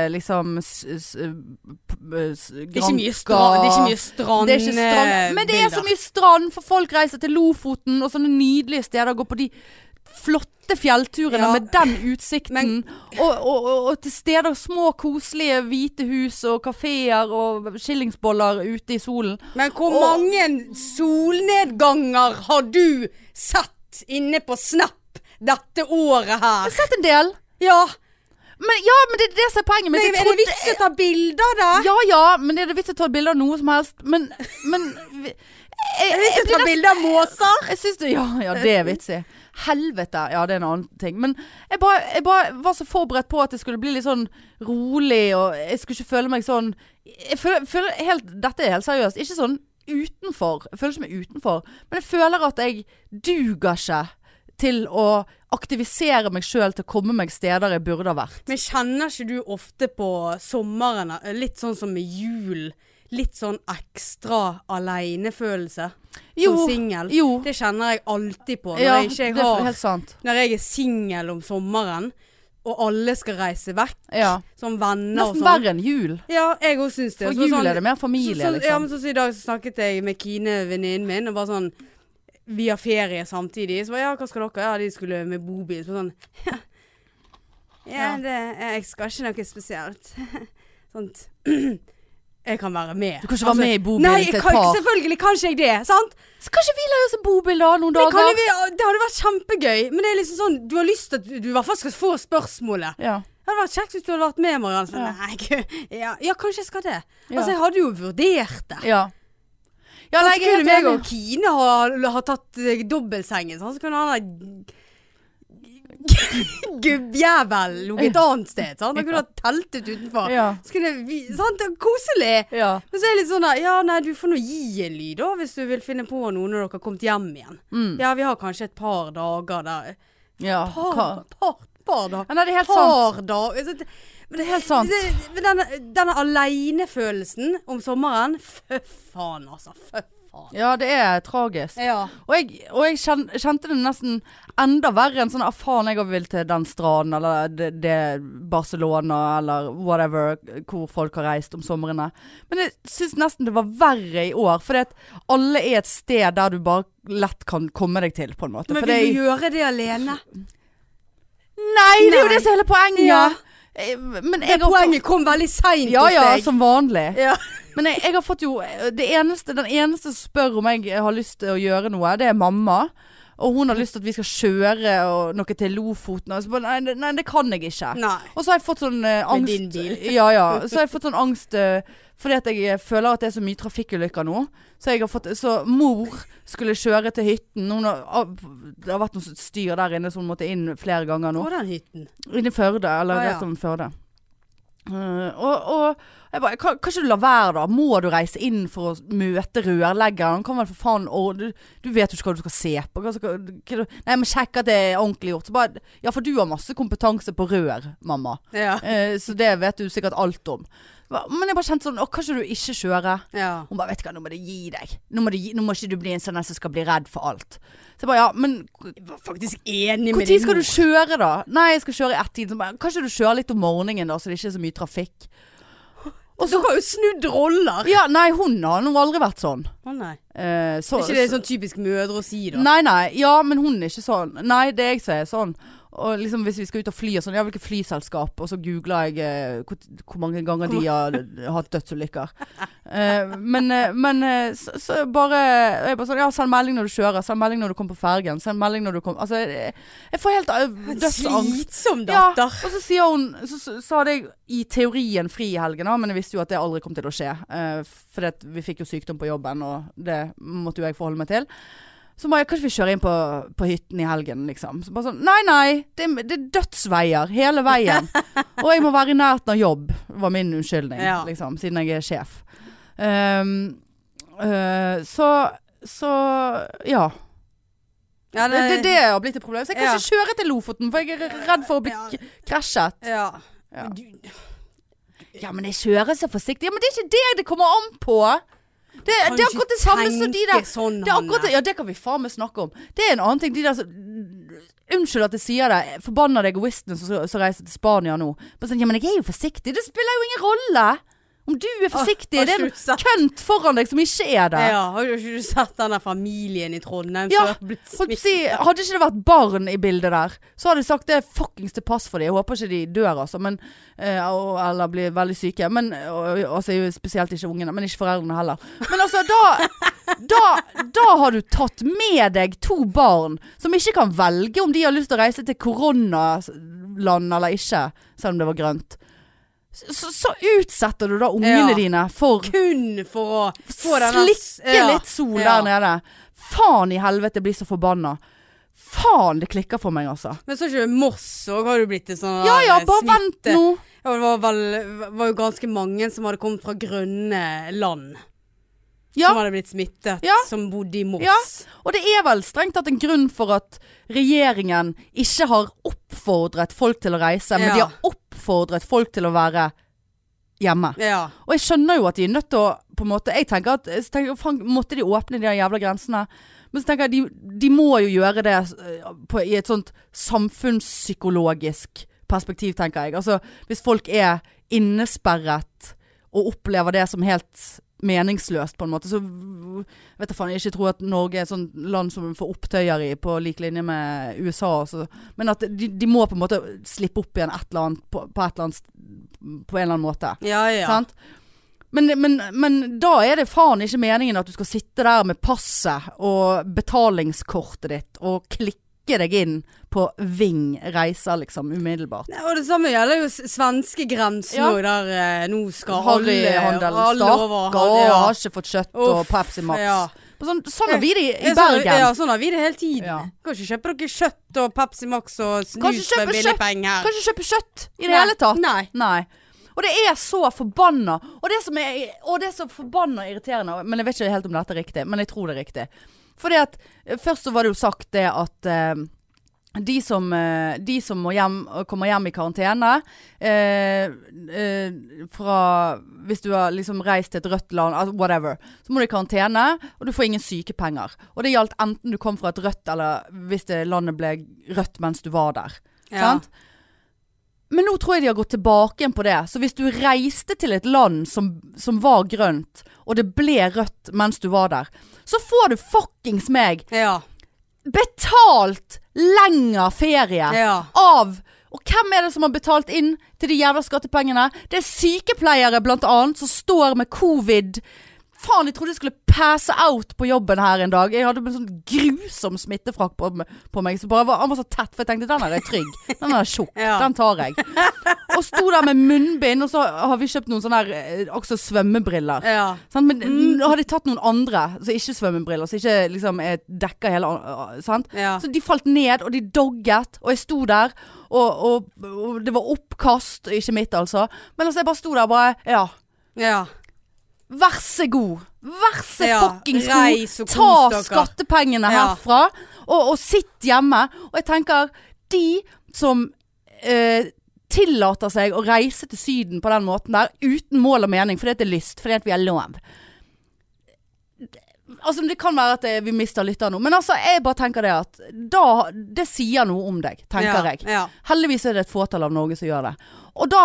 ikke liksom s, s, p- s, Det er ikke mye, stra Granka. det er ikke mye strand... Det er ikke eh, strand. Men det er så mye strand, for folk reiser til Lofoten og sånne nydelige steder. Går på de flotte fjellturene Ja. med den utsikten. Men- og, og, og, og til steder små, koselige hvite hus og kafeer og skillingsboller ute i solen. Men hvor Og- mange solnedganger har du sett inne på Snap dette året her? Sett en del. Ja, Men, ja, men det er det som er poenget mitt. men Jeg er det trodde- vits å ta bilder der? Ja ja, men er det vits i å ta bilde av noe som helst? Men, *laughs* men vi- jeg, Er det vits å blir ta nesten- bilder av måser? Jeg syns det Ja, ja, det er vitsig. Helvete. Ja, det er en annen ting. Men jeg bare, jeg bare var så forberedt på at det skulle bli litt sånn rolig, og jeg skulle ikke føle meg sånn Jeg føler, føler helt Dette er helt seriøst. Ikke sånn utenfor. Jeg føler ikke meg utenfor. Men jeg føler at jeg duger ikke til å aktivisere meg sjøl til å komme meg steder jeg burde ha vært. Men kjenner ikke du ofte på sommeren, eh, litt sånn som med jul, litt sånn ekstra aleinefølelse som Jo, singel? Jo. Det kjenner jeg alltid på når Ja, jeg det ikke jeg er har helt sant. Når jeg er singel om sommeren, og alle skal reise vekk, Ja. som venner og Nesten sånn. verre enn jul. Ja, jeg òg syns det. For Så jul sånn- er det mer så, familie, så, Ja, men liksom. sånn som I dag så snakket jeg med Kine, venninnen min, og bare sånn Vi har ferie samtidig. Så bare, ja, hva skal dere? Ja, de skulle med bobil. Så sånn *laughs* Ja, Ja. det, jeg skal ikke noe spesielt. *laughs* Sånt. *clears throat* Jeg kan være med. Altså, Du kan ikke være med i bobilen Nei, til et kan, par. selvfølgelig kan ikke jeg det. Sant? Så kanskje vi leier oss en bobil da, noen Det, kan dager? jo vi- det hadde vært kjempegøy. Men det er liksom sånn du har lyst til at du, du i hvert fall skal få spørsmålet. Ja. Det hadde vært kjekt hvis du hadde vært med, Marianne. Så, Ja. Nei, gud, ja, ja, kanskje jeg skal det. Ja. Altså, jeg hadde jo vurdert det. Ja. Ja, Så nei, jeg er helt skulle meg enig. og Kine ha, ha tatt eh, dobbeltsengen, sånn, *laughs* så kunne han ha Gubbjævel ligget et annet sted. Sant? Han kunne ha teltet utenfor. Ja. Så kunne vi, sant? Koselig. ja. Men så er det litt sånn der, Ja, nei, du får nå gi en lyd, da, hvis du vil finne på noe når dere har kommet hjem igjen. Mm. Ja, vi har kanskje et par dager der. ja. Par, Hva? par, par dager. Ja, nei, det er helt sant. Par dager. Så det- Men det er helt sant. det- men denne, denne aleinefølelsen om sommeren, fø faen altså, fø faen. Ja, det er tragisk. Ja. Og jeg, og jeg kjen, kjente det nesten enda verre enn sånn ah, faen, jeg vil til den stranden, eller det, det Barcelona, eller whatever, hvor folk har reist om somrene. Men jeg syns nesten det var verre i år, fordi at alle er et sted der du bare lett kan komme deg til, på en måte. Men For vil det- du gjøre det alene? Nei, det er jo Nei. det som er hele poenget! Ja. Eh, Men Det jeg har poenget kom veldig seint Ja hos ja, deg. som vanlig. Ja. Men jeg, jeg har fått jo det eneste, Den eneste som spør om jeg har lyst til å gjøre noe, det er mamma. Og hun har lyst til at vi skal kjøre og noe til Lofoten. Og så bare, nei, det- nei, det kan jeg ikke. Nei. Og så har jeg fått sånn eh, Med angst din bil. *laughs* Ja, ja. Så har jeg fått sånn angst eh, fordi at jeg føler at det er så mye trafikkulykker nå. Så, jeg har fått, så mor skulle kjøre til hytten. Hun har, av- det har vært noe styr der inne, så hun måtte inn flere ganger nå. På den hytten. Inne i Førde, eller Ah, ja. rett om Førde. Eh, og, og jeg bare, kan, kan ikke du la være da? Må du reise inn for å møte rørleggeren? Han kan vel for faen og du, du vet jo ikke hva du skal se på. Hva skal, hva du, nei, men sjekk at det er ordentlig gjort. Så bare, ja, for du har masse kompetanse på rør, mamma. Ja. Eh, så det vet du sikkert alt om. Hva- Men jeg bare kjente sånn, å, kan ikke du ikke kjøre? ja. Hun bare, vet du hva, nå må du gi deg. Nå må, du, gi- nå må ikke du bli en sånn en som skal bli redd for alt. Så jeg bare, ja, men Jeg var faktisk enig hvor med tid din skal mor. du kjøre da? Nei, jeg skal kjøre i ett-tiden. Så bare, Kanskje du kjører litt om morgenen da, så det ikke er så mye trafikk. Og så, Dere har jo snudd roller. ja, nei, hun har nå aldri vært sånn. Å nei. Eh, så, Er ikke det sånn typisk mødre å si, da? Nei, nei. Ja, men hun er ikke sånn. Nei, det er jeg som er sånn. Og liksom hvis vi skal ut og fly og sånn, ja, hvilke flyselskap? Og så googler jeg eh, hvor, hvor mange ganger de har *laughs* hatt dødsulykker. Eh, men eh, men eh, så, så bare Jeg bare sånn Ja, send melding når du kjører. Send melding når du kommer på fergen. Send melding når du kommer Altså, jeg, jeg får helt eh, En dødsangst. Slitsom datter. Ja, og så sier hun Så, så, så hadde jeg i teorien fri i helgen, da, men jeg visste jo at det aldri kom til å skje. eh, for det, at vi fikk jo sykdom på jobben, og det måtte jo jeg forholde meg til. Så Maja, kan ikke vi kjøre inn på, på hytten i helgen, liksom? Så bare sånn, nei, nei, det, er- det er dødsveier hele *laughs* veien. Og jeg må være i nærheten av jobb, var min unnskyldning, Ja. liksom, siden jeg er sjef. Ehm, eh, så, så, ja. Ja, Det, det, det har blitt et problem. Så jeg kan Ja. ikke kjøre til Lofoten, for jeg er redd for å bli Ja. k- krasjet. ja. Ja. Men Du, Ja, men jeg kjører så forsiktig. Ja, men det er ikke det det kommer an på. Det, det kan er ikke akkurat det samme som de tenke der Sånn, det er akkurat, det- Hanne. Ja, det kan vi faen meg snakke om. Det er en annen ting. De der som Unnskyld at jeg sier det. Forbanna egoistene som, som reiser til Spania nå. Men sånn, ja, men jeg er jo forsiktig. Det spiller jo ingen rolle. Om du er forsiktig, har det er ikke du en sett- kønt foran deg som ikke er det. Ja, har du ikke sett den der familien i Trondheim Ja, som har blitt Holdt på å smittet? si, hadde ikke det vært barn i bildet der, så hadde jeg sagt det er fuckings til pass for dem. Jeg håper ikke de dør, altså, men, eh, og- eller blir veldig syke. Men, og, altså, jo spesielt ikke ungene, men ikke foreldrene heller. Men altså, da, da, da har du tatt med deg to barn som ikke kan velge om de har lyst til å reise til koronaland eller ikke, selv om det var grønt. Så, så utsetter du da ungene Ja. dine for Kun for å få denne Slikke ja. litt sol der Ja. nede. Faen i helvete, jeg blir så forbanna. Faen, det klikker for meg, altså. Men så ikke Moss òg har jo blitt en sånn Ja ja, der bare smitte- vent nå. Ja, det var vel var jo ganske mange som hadde kommet fra grønne land. Ja, Som hadde blitt smittet, Ja. som bodde i Moss. Ja. og det er vel strengt tatt en grunn for at regjeringen ikke har oppfordret folk til å reise, men Ja. de har oppfordret folk til å være hjemme. Ja. Og jeg skjønner jo at de er nødt til å på en måte, Jeg tenker at så tenker, jeg, faen, Måtte de åpne de der jævla grensene? Men så tenker jeg de, de må jo gjøre det eh, på, i et sånt samfunnspsykologisk perspektiv, tenker jeg. Altså hvis folk er innesperret og opplever det som helt meningsløst, på en måte, så jeg vet jeg faen, jeg ikke tror at Norge er et sånt land som får opptøyer i på lik linje med USA. Også. Men at de, de må på en måte slippe opp igjen et eller annet på, på, et eller annet, st- på en eller annen måte. Ja, ja. Sant? Men, men, men da er det faen ikke meningen at du skal sitte der med passet og betalingskortet ditt og klikke deg inn på Ving reiser, liksom, umiddelbart. Nei, Og det samme gjelder jo s- svenske grensen Ja. òg, der eh, nå skal alle Harryhandelen alle over stakkar, og Harry, ja. har ikke fått kjøtt og Uff, Pepsi Max. ja. Sånn, sånn har vi det i, i Ja, sånn- Bergen. Ja, sånn har vi det hele tiden. Ja. Kan ikke kjøpe dere kjøtt og Pepsi Max og Kan snus ikke kjøpe for billig kjøtt. penger. Kan ikke kjøpe kjøtt i det Nei. hele tatt. Nei. Og det er så forbanna. Og det som er, og det er så forbanna irriterende Men jeg vet ikke helt om dette er riktig, men jeg tror det er riktig. Fordi at eh, Først så var det jo sagt det at eh, de som, eh, de som må hjem, eh, kommer hjem i karantene eh, eh, fra Hvis du har liksom reist til et rødt land, altså whatever, så må du i karantene, og du får ingen sykepenger. Og det gjaldt enten du kom fra et rødt, eller hvis det landet ble rødt mens du var der. Ja. Sant? Men nå tror jeg de har gått tilbake igjen på det. Så hvis du reiste til et land som, som var grønt, og det ble rødt mens du var der, så får du fuckings meg Ja. betalt lengre ferie ja. av Og hvem er det som har betalt inn til de jævla skattepengene? Det er sykepleiere blant annet som står med covid. Faen, jeg trodde jeg skulle passe out på jobben her en dag. Jeg hadde en sånn grusom smittefrakk på, på meg. Så bare, var- han var så tett, for jeg tenkte den her er trygg. Den her er tjukk. *laughs* Ja. Den tar jeg. Og sto der med munnbind, og så har vi kjøpt noen sånne her, eh, også svømmebriller. ja. Mm. Sant? Men nå har de tatt noen andre som ikke svømmebriller, som ikke liksom, eh, dekker hele an- sant? Ja. Så de falt ned, og de dogget, og jeg sto der, og, og, og det var oppkast, ikke mitt altså. Men altså, jeg bare sto der og bare Ja. ja. Vær så god. Vær så Ja, fuckings reis god. og kos Ta dere. skattepengene Ja. herfra, og, og sitt hjemme. Og jeg tenker, de som eh, tillater seg å reise til Syden på den måten der, uten mål og mening, fordi at det er lyst, fordi at vi har lov Altså, det kan være at det, vi mister lytter nå, men altså, jeg bare tenker det at da, det sier noe om deg, tenker ja. jeg. Ja. Heldigvis er det et fåtall av Norge som gjør det. Og da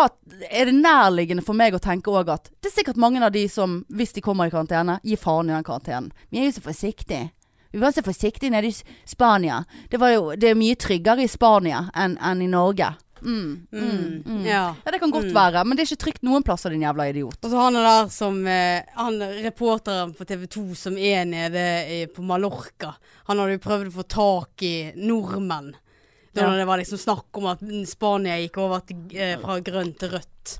er det nærliggende for meg å tenke òg at det er sikkert mange av de som, hvis de kommer i karantene, gir faen i den karantenen. Vi er jo så forsiktige. Vi var så forsiktige nede i S- Spania. Det, var jo, det er mye tryggere i Spania enn enn i Norge. Mm. Mm. ja. Ja, det kan godt være, men det er ikke trygt noen plasser, din jævla idiot. Og så han er der som eh, Han reporteren på TV 2 som er nede i, på Mallorca. Han hadde jo prøvd å få tak i nordmenn. Da Ja. det var liksom snakk om at Spania gikk over til, eh, fra grønt til rødt.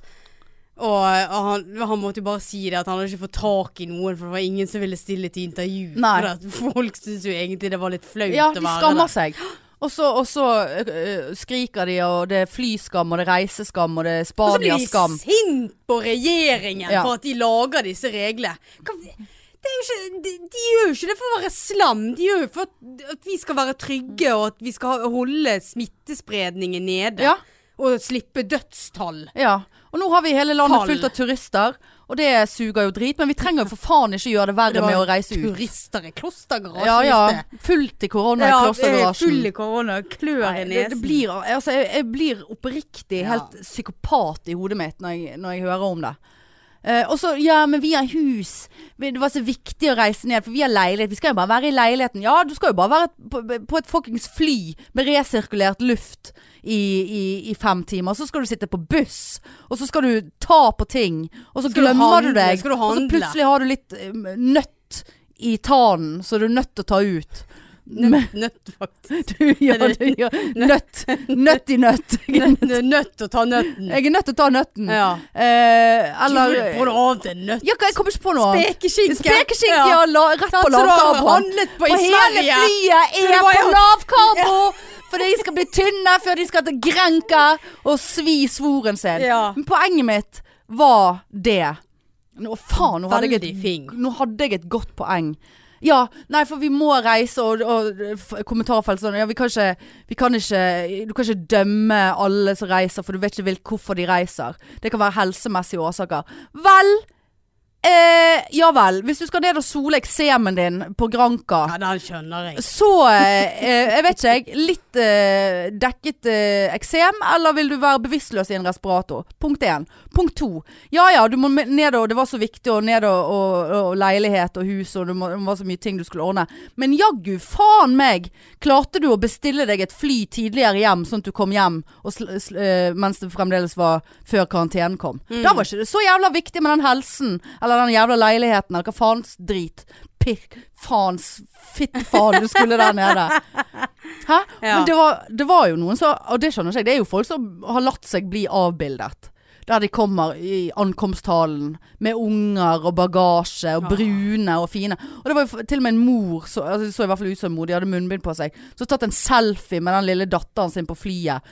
Og eh, han, han måtte jo bare si det, at han hadde ikke fått tak i noen, for det var ingen som ville stille til intervju. Nei. For at folk syntes jo egentlig det var litt flaut Ja, å de være skammer der. seg. Og så, og så øh, øh, skriker de, og det er flyskam, og det er reiseskam, og det er Og så blir de Spania-skam. sint på regjeringen Ja. for at de lager disse reglene. Hva, det er jo ikke, de, de gjør jo ikke det for å være slam. De gjør jo for at, at vi skal være trygge, og at vi skal ha- holde smittespredningen nede. Ja, Og slippe dødstall. ja. Og nå har vi hele landet Fall. fullt av turister, og det suger jo drit, men vi trenger jo for faen ikke gjøre det verre med å reise ut. Turister i klostergarasjen. Ja, ja. visst det. Fullt i korona i Ja, eh, klostergarasjen. full i korona, klør i Nei, det, nesen. det blir, altså, jeg, jeg blir oppriktig Ja. helt psykopat i hodet mitt når jeg, når jeg hører om det. Eh, og så, ja, men vi har hus. Vi- Det var så viktig å reise ned, for vi har leilighet. Vi skal jo bare være i leiligheten. Ja, du skal jo bare være et- på, på et fuckings fly med resirkulert luft i, i, i fem timer. Så skal du sitte på buss, og så skal du ta på ting. Og så Skal du glemmer du, handle? deg. Skal du og så handle? plutselig har du litt eh, nøtt i tannen, så du er nødt til å ta *laughs* ut. nødt, nødt, faktisk. *laughs* Du, ja, Eller- du, ja. Nøtt. *laughs* Nøtt i nøtt. Jeg er Nødt, nødt- nødt å ta nøtten. jeg er nødt til å ta nøtten. Ja. Eh, eller Eller På noe annet enn nøtt. ja, hva- Jeg kommer ikke på noe annet. Spekeskinke. Spekeskinke, ja. La, rett Sånn, Så på da har vi lavkarboen. handlet på Og i hele Sverige. flyet Så det er var på jo- lavkarbo! For de skal bli tynne før de skal til Grenka og svi svoren sin. Ja. Men poenget mitt var det. Nå faen, nå hadde jeg et Veldig fing. nå hadde jeg et godt poeng. Ja, nei, for vi må reise og, og f- kommentarfelt sånn. Ja, vi kan ikke, vi kan ikke Du kan ikke dømme alle som reiser, for du vet ikke hvil- hvorfor de reiser. Det kan være helsemessige årsaker. Vel eh, Ja vel. Hvis du skal ned og sole eksemen din på Granka Ja, den skjønner jeg. så eh, eh, Jeg vet ikke, jeg. Litt eh, dekket eh, eksem, eller vil du være bevisstløs i en respirator? Punkt én. Punkt to. Ja ja, du må me- ned og Det var så viktig, og ned og, og, og leilighet og hus, og det må- det var så mye ting du skulle ordne. Men jaggu faen meg klarte du å bestille deg et fly tidligere hjem, sånn at du kom hjem og sl sl eh, mens det fremdeles var før karantenen kom. Da var ikke det så jævla viktig med den helsen, eller den jævla leiligheten, eller hva faens drit. Pirk, faens, fittfaen du skulle der nede. *laughs* Hæ? Ja. Men det var, det var jo noen som, og det skjønner ikke jeg, det er jo folk som har latt seg bli avbildet. Der de kommer i ankomsthallen med unger og bagasje og brune og fine. Og det var jo f- til og med en mor, så, altså, det så i hvert fall ut som en mor, de hadde munnbind på seg, som tatt en selfie med den lille datteren sin på flyet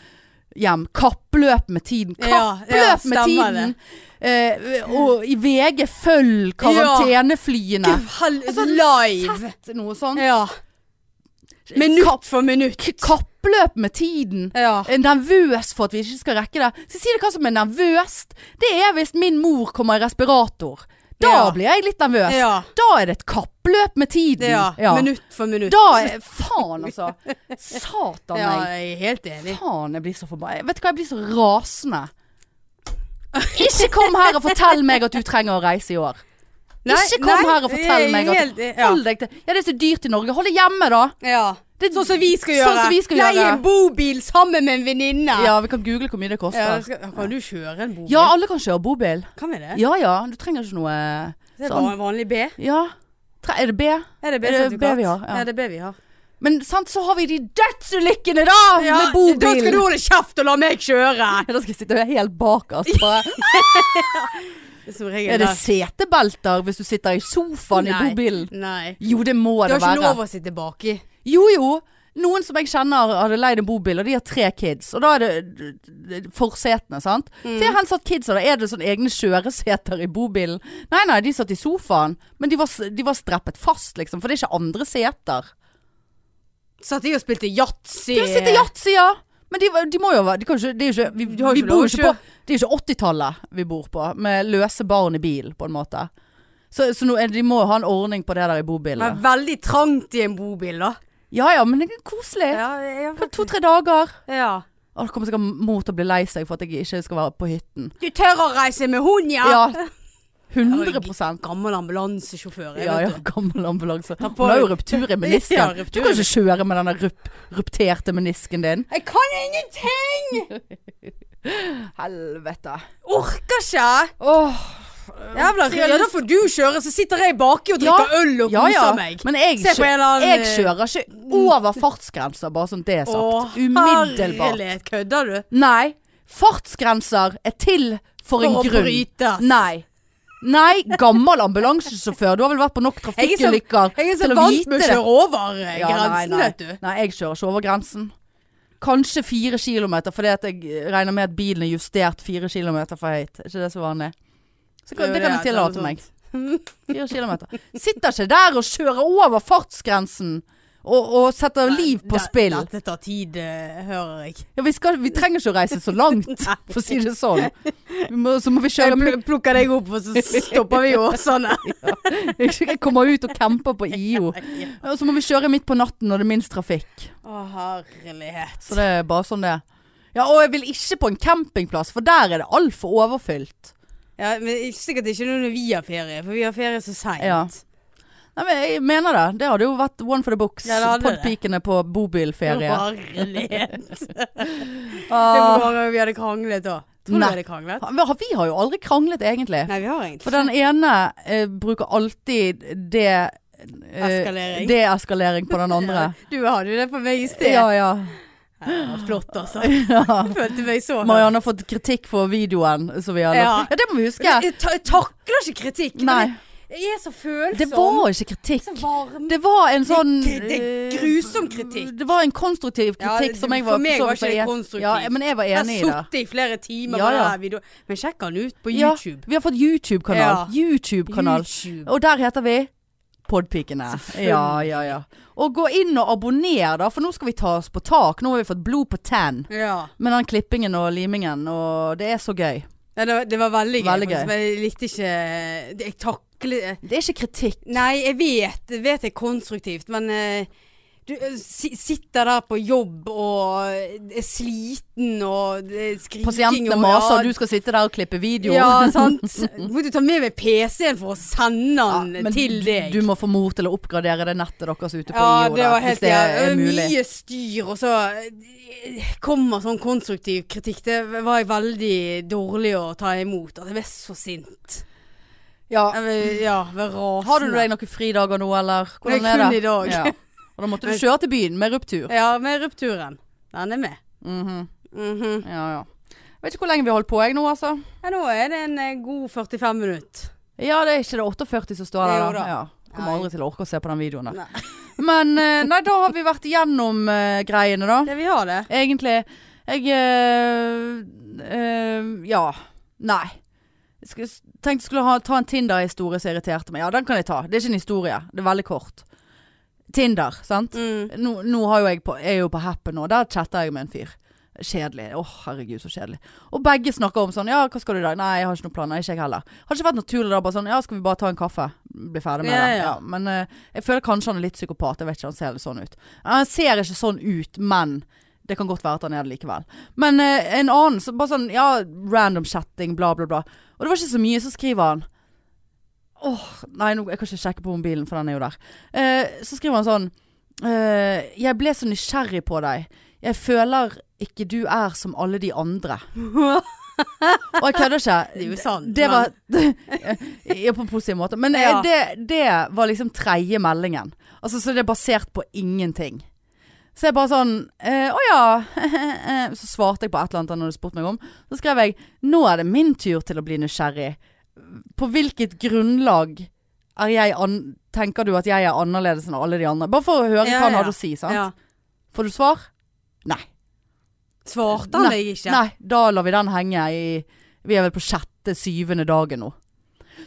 hjem. Kappløp med tiden. Ja, Kappløp ja, med stemmer tiden! Eh, og i VG følg karanteneflyene. Altså, Live. Sett noe sånt. Ja. Minutt for minutt. Kappløp med tiden. Ja. Er Nervøs for at vi ikke skal rekke det. Så si det hva som er nervøst. Det er hvis min mor kommer i respirator. Da Ja. blir jeg litt nervøs. Ja. Da er det et kappløp med tiden. ja. Mm. Ja. Minutt for minutt. Da er Faen, altså. Satan, ja, jeg. jeg er helt enig. Faen, jeg blir så forbanna. Vet du hva, jeg blir så rasende. Ikke kom her og fortell meg at du trenger å reise i år. ikke kom her og fortell meg at helt, e- ja. Hold deg til Ja, det er så dyrt i Norge. Hold deg hjemme, da. ja. Det- Sånn som vi skal gjøre. Sånn som vi skal Leie gjøre. en bobil sammen med en venninne. Ja, altså. vi kan google hvor mye det koster. Ja, Ja, det skal, kan du kjøre en bobil? alle kan kjøre bobil. Kan vi det? Ja ja, du trenger ikke noe det er sånn. bare en vanlig B. Ja. Tre, er det B? Er det Er det B-sertifikat? B vi har? Ja. det er B vi har. Men sant, så har vi de dødsulykkene, da! Ja, med bobil. Da skal du holde kjeft og la meg *laughs* kjøre! Ja, *laughs* da skal jeg sitte helt *laughs* bakerst. Bare. Som regel Er det der. setebelter hvis du sitter i sofaen i Nei. bobilen? Nei. Jo, det må Du det har være. ikke lov å sitte baki. Jo jo. Noen som jeg kjenner hadde leid en bobil, og de har tre kids. Og da er det det- forsetene, sant. Så jeg har helst hatt kids, og da er det sånn egne kjøreseter i bobilen. Nei nei, de satt i sofaen, men de var, s- de var streppet fast, liksom. For det er ikke andre seter. Satt jeg og spilte yatzy. De sitter yatzy, ja! Men de, var- de må jo være de kan jo ikke, det er jo ikke, vi, Du har jo vi ikke bor lov jo å ikke på Det er jo ikke 80-tallet vi bor på, med løse barn i bil, på en måte. Så, så nå, er- de må jo ha en ordning på det der i Men bobilen. veldig trangt i en bobil, da. Ja ja, men det er koselig. Ja, jeg, To-tre dager. ja. Å, det kommer sikkert mor til å bli lei seg for at jeg ikke skal være på hytten. Du tør å reise med hund, ja? Ja. 100 Gammel ambulansesjåfør. jeg Ja, vet ja, gammel ambulanse. på- Hun har jo ruptur i Ja, menisken. Du ruptur. kan ikke kjøre med denne rup rupterte menisken din. du. Jeg kan ingenting! Helvete. Orker ikke! Åh, Jævla rød. Da får du kjøre, så sitter jeg baki og Ja, drikker øl og ja koser ja. meg. Men jeg, Se på kjø- en eller annen, eh, mm. jeg kjører ikke over fartsgrenser, bare sånn det er sagt. Umiddelbart. herlighet. Kødder du? Nei. Fartsgrenser er til for, en å grunn. brytes. Nei. Nei, gammel ambulansesjåfør. Du har vel vært på nok Jeg er så- trafikkulykker Jeg er så til å vant vite med å det. kjøre over eh, Ja, nei, grensen, nei. vet du. Nei, jeg kjører ikke over grensen. Kanskje fire kilometer, fordi at jeg regner med at bilen er justert fire kilometer for høyt. Er ikke det så vanlig? Så kan, Jo, det kan det jeg er tillate sant. meg. Fire *laughs* kilometer. Sitter ikke der og kjører over fartsgrensen og, og setter liv på Det- spill. Dette tar tid, eh, hører jeg. Ja, vi, skal, vi trenger ikke å reise så langt, *laughs* for å si det sånn. Vi må, så må vi Jeg kjøre pl- plukker deg opp, og så stopper vi i sånn Åsane. *laughs* *laughs* Jeg kommer ut og camper på IO. Og så må vi kjøre midt på natten når det er minst trafikk. Å, herlighet. Så det er bare sånn det er. Ja, og jeg vil ikke på en campingplass, for der er det altfor overfylt. Ja, men ikke- sikkert ikke når vi har ferie, for vi har ferie så seint. Ja. Nei, men jeg mener det. Det hadde jo vært one for the books. Ja, det hadde det. Podpikene på bobilferie. *laughs* Herlighet. Det var Ah, mange ganger vi hadde kranglet da. Tror du vi Nei. hadde kranglet? vi har jo aldri kranglet, egentlig. Nei, vi har For egentlig den ene eh, bruker alltid det eh, Eskalering. Deeskalering på den andre. *laughs* Du hadde jo det på meg i sted. Ja, ja. Ja, det var flott, altså. *laughs* *laughs* ja. Jeg følte meg så Marianne har fått kritikk for videoen som vi har Ja. lagt. Ja, det må vi huske. Jeg, jeg, ta- jeg takler ikke kritikk. men Nei, Jeg jeg er så følsom. det var ikke kritikk. så varm. Det var en sånn Det- det er grusom kritikk. Det var en konstruktiv Ja, kritikk det- som jeg var for meg så var vidt ikke det en- konstruktivt. Ja, men jeg var jeg har enig i det. sittet i flere timer Ja, på ja. den videoen. Men sjekk den ut på Ja, YouTube. vi har fått YouTube-kanal. Ja. YouTube-kanal. YouTube. Og der heter vi Podpikene. Selvfølgelig. Ja, ja, ja. Og gå inn og abonner, da, for nå skal vi ta oss på tak. Nå har vi fått blod på tann Ja. med den klippingen og limingen, og det er så gøy. Nei, det, var, det var veldig gøy, Veldig gøy. faktisk, men jeg likte ikke det- Jeg taklet Det er ikke kritikk. Nei, jeg vet, jeg vet det er konstruktivt, men eh, du eh, si, sitter der på jobb og eh, er sliten og det er skriking Pasientene og- maser, ja, og du skal sitte der og klippe video. *laughs* Ja, sant. Må du ta med meg PC-en for å sende Ja, den til du, deg? du må få mor til å oppgradere det nettet deres ute på ja, IO. det der, var hvis helt det ja, er mulig. Mye styr, og så eh, kommer sånn konstruktiv kritikk. Det var jeg veldig dårlig å ta imot. At jeg ble så sint. Ja. Jeg ble, ja, jeg ble rasende. Har du deg noen fridager nå, eller? Hvordan Nei, er det? kun i dag. Ja. Og da måtte du kjøre til byen med ruptur. Ja, med rupturen. Den er med. Mhm. Mhm. Ja, ja. Jeg vet ikke hvor lenge vi har holdt på jeg nå, altså. Ja, nå er det en eh, god 45 minutter. Ja, det er ikke det 48 som står der. Jo da. Ja. Kommer Nei. aldri til å orke å se på den videoen der. Nei. *laughs* Men eh, nei, da har vi vært igjennom eh, greiene, da. Ja, vi har det. Egentlig Jeg eh, eh, Ja. Nei. Jeg skulle, tenkte jeg skulle ha, ta en Tinder-historie som irriterte meg. Ja, den kan jeg ta. Det er ikke en historie. Det er veldig kort. Tinder, sant. Mm. Nå, nå har jo jeg på, jeg er jo på Happen nå. Der chatter jeg med en fyr. Kjedelig. Åh, herregud, så kjedelig. Og begge snakker om sånn Ja, hva skal du i dag? Nei, jeg har ikke noen planer. Ikke jeg heller. Hadde ikke vært naturlig da bare sånn Ja, skal vi bare ta en kaffe? Bli ferdig med Ja, det. ja. Ja, men eh, jeg føler kanskje han er litt psykopat. Jeg vet ikke, han ser litt sånn ut. Han ser ikke sånn ut, men det kan godt være at han er det likevel. Men eh, en annen, så bare sånn Ja, random chatting, bla, bla, bla. Og det var ikke så mye, så skriver han Åh, nei, nå, jeg kan ikke sjekke på mobilen, for den er jo der. Eh, så skriver han sånn eh, Jeg ble så nysgjerrig på deg. Jeg føler ikke du er som alle de andre. Og jeg kødder ikke. Det er jo sant, Det var *laughs* Ja, på en positiv måte. Men eh, Ja. det, det var liksom tredje meldingen. Altså, så det er basert på ingenting. Så jeg bare sånn eh, Å ja. *laughs* så svarte jeg på et eller annet han hadde spurt meg om. Så skrev jeg Nå er det min tur til å bli nysgjerrig. På hvilket grunnlag er jeg an tenker du at jeg er annerledes enn alle de andre? Bare for å høre Ja, hva han ja. hadde å si, sant? Ja. Får du svar? Nei. Svarte han deg ikke? Nei, da lar vi den henge i Vi er vel på sjette, syvende dagen nå.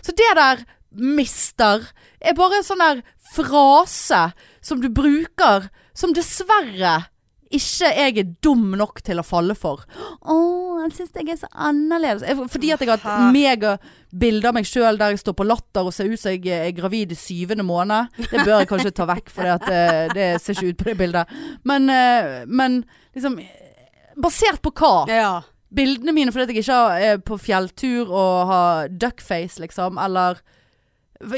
Så det der, mister, er bare en sånn der frase som du bruker, som dessverre ikke jeg er dum nok til å falle for. Å, jeg syns jeg er så annerledes. Jeg- Fordi at jeg har Hæ? hatt megabilde av meg sjøl der jeg står på latter og ser ut som jeg er gravid i syvende måned. Det bør jeg kanskje ta vekk, for det, det ser ikke ut på det bildet. Men, eh, men liksom Basert på hva? Ja. bildene mine fordi at jeg ikke har- er på fjelltur og har duckface, liksom, eller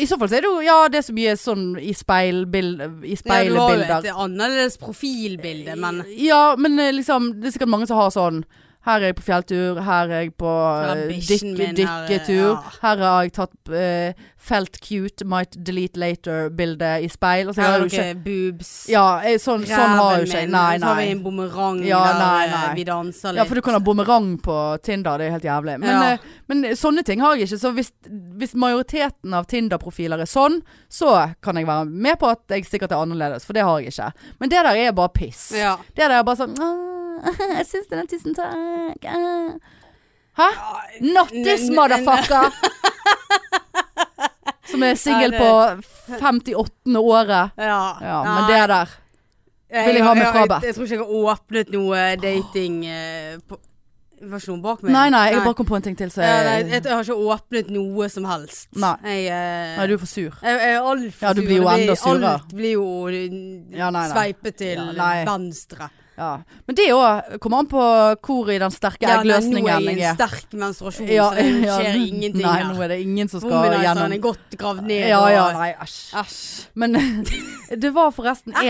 I så fall så er det jo ja, det er så mye sånn i speilbilder. I Ja, du har jo speilbilder. et annerledes profilbilde, men Ja, men eh, liksom, det er sikkert mange som har sånn Her er jeg på fjelltur, her er jeg på Eller eh, bikkjen dykke, min her er- dykketur. ja. Her har jeg tatt eh, felt cute, might delete later-bildet i speil. Og så Her har har du ikke dere boobs. Ja, eh, sånn, sånn har jo ikke jeg. Nei, Så har vi nei. en bumerang Ja, der nei, eh, nei. vi danser litt. Ja, for du kan ha bumerang på Tinder, det er helt jævlig. Men, Ja. eh, men sånne ting har jeg ikke. Så hvis, hvis majoriteten av Tinder-profiler er sånn, så kan jeg være med på at jeg sikkert er annerledes, for det har jeg ikke. Men det der er bare piss. Ja. Det der er bare sånn «Åh, *laughs* Jeg syns den er tusen takk. ah». Hæ? Not this N- n- motherfucker! Som er singel Ja, på 58. året. ja. Ja, men det der. Jeg- vil jeg ha med jeg- frabedt. Jeg, jeg tror ikke jeg har åpnet noe dating eh, på, Det var ikke noen bak meg. Nei, nei, jeg bare kom på en ting til, så ja, nei, jeg, jeg jeg har ikke åpnet noe som helst. Nei. Jeg, eh, Nei, du er for sur. Jeg, jeg er altfor Ja, du blir jo enda surere. Alt blir jo eh, Ja, nei, nei. sveipet til Ja, nei. venstre. Ja. Men det òg kommer an på hvor i den sterke Ja, nei, nå er eggløsningen jeg i jeg en er. sterk menstruasjon, Ja, så det ja. skjer ingenting Nei, her. nå er det ingen som skal Womanizeren gjennom er godt gravd ned. Ja, og- ja, nei, æsj. Æsj. Men *laughs* det var forresten Æsj.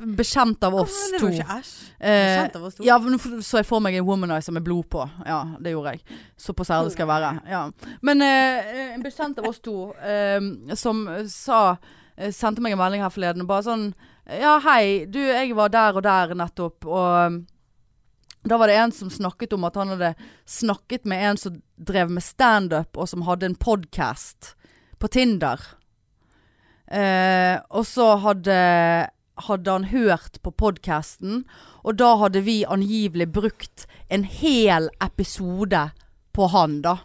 en bekjent av oss Hvorfor er det to. da ikke æsj? Eh, Bekjent av oss to? ja, men for- så jeg for meg en womanizer med blod på. Ja, det gjorde jeg. Såpass ærlig skal jeg være. Ja. Men eh, en bekjent av oss to eh, som sa eh, Sendte meg en melding her forleden og bare sånn Ja, hei, du, jeg var der og der nettopp, og eh, da var det en som snakket om at han hadde snakket med en som drev med standup, og som hadde en podkast på Tinder. Eh, og så hadde, hadde han hørt på podkasten, og da hadde vi angivelig brukt en hel episode på han, da.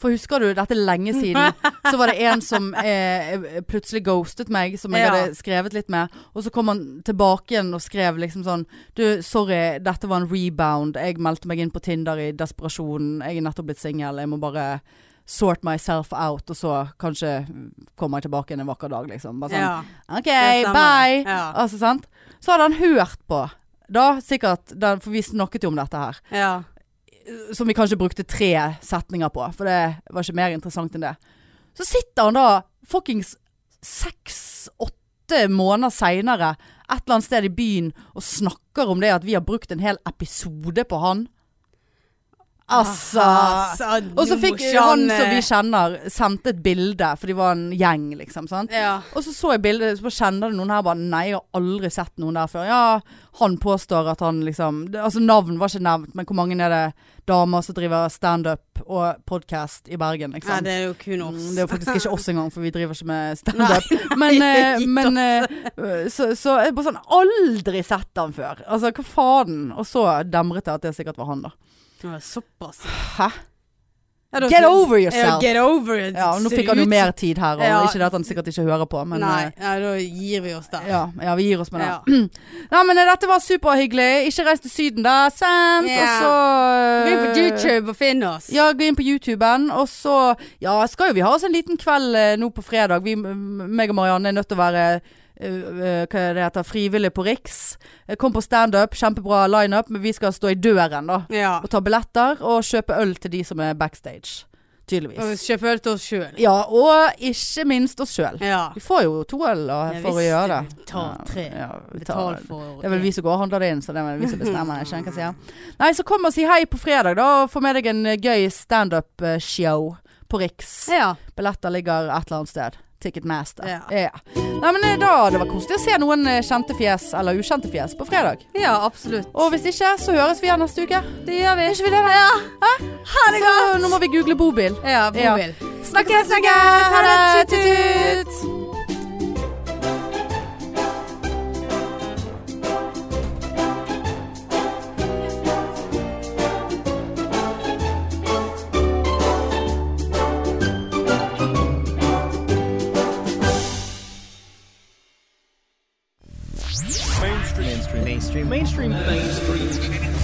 For husker du, dette er lenge siden, så var det en som eh, plutselig ghostet meg, som jeg Ja. hadde skrevet litt med. Og så kom han tilbake igjen og skrev liksom sånn Du, sorry, dette var en rebound. Jeg meldte meg inn på Tinder i desperasjon. Jeg er nettopp blitt singel. Jeg må bare sort myself out, og så kanskje kommer jeg tilbake en vakker dag, liksom. Bare sånn, Ja, OK, det stemmer. bye! Ja. Altså, sant? Så hadde han hørt på, da sikkert, den, for vi snakket jo om dette her, ja. som vi kanskje brukte tre setninger på, for det var ikke mer interessant enn det. Så sitter han da fuckings seks-åtte måneder seinere et eller annet sted i byen og snakker om det at vi har brukt en hel episode på han. Altså Ah, og så fikk han som vi kjenner, sendte et bilde, for de var en gjeng, liksom. Sant? Ja. Og så så jeg bildet, så bare kjenner det noen her bare Nei, jeg har aldri sett noen der før. Ja, han påstår at han liksom det, Altså, navn var ikke nevnt, men hvor mange er det damer som driver standup og podkast i Bergen, Nei, liksom? det er jo kun oss. Mm, Det er jo faktisk ikke oss engang, for vi driver ikke med standup. Men, eh, gitt men eh, så, så er det bare sånn Aldri sett han før! Altså, hva faen? Og så demret jeg at det sikkert var han, da. Ja, Såpass. Hæ? Ja, da- Get over Ja, yourself! get over it. Ja, og nå Ser fikk han jo ut- mer tid her, og Ja. ikke det at han sikkert ikke hører på, men Nei, eh, ja, da gir vi oss der. ja, ja, vi gir oss med det. Ja. Nei, men eh, dette var superhyggelig. Ikke reis til Syden, da. Sant? Ja. Og så eh, Gå inn på YouTube og finn oss. Ja, gå inn på YouTuben. Og så Ja, skal jo vi ha oss en liten kveld eh, nå på fredag. Vi, m- meg og Marianne er nødt til å være eh, eh, hva er det heter, frivillig på Riks. Eh, Kom på standup, kjempebra lineup, men vi skal stå i døren da. Ja. Og ta billetter og kjøpe øl til de som er backstage. Tydeligvis. Og kjøp øl til oss sjøl. Ja, og ikke minst oss sjøl. Ja. Vi får jo to øl da, Jeg for å visste gjøre det. vi tar tre. Ja, ja, vi tar- Betal for det er vel vi som går og handler det inn, så det er vel vi som bestemmer. Jeg skjønner hva jeg sier. Nei, så kom og si hei på fredag, da. Og få med deg en eh, gøy standup-show på Riks. Ja. Billetter ligger et eller annet sted. Ticketmaster. Ja. Nei, men eh, da Det var koselig å se noen eh, kjente fjes, eller ukjente fjes, på fredag. ja, absolutt. Og hvis ikke, så høres vi igjen neste uke. Det gjør vi. Er ikke vi det, da? Hæ? Ha det godt! Så nå må vi google bobil. Ja, bobil. Snakkes, snakkes! Ha det! Tut-tut! mainstream mainstream mainstream mainstream mainstream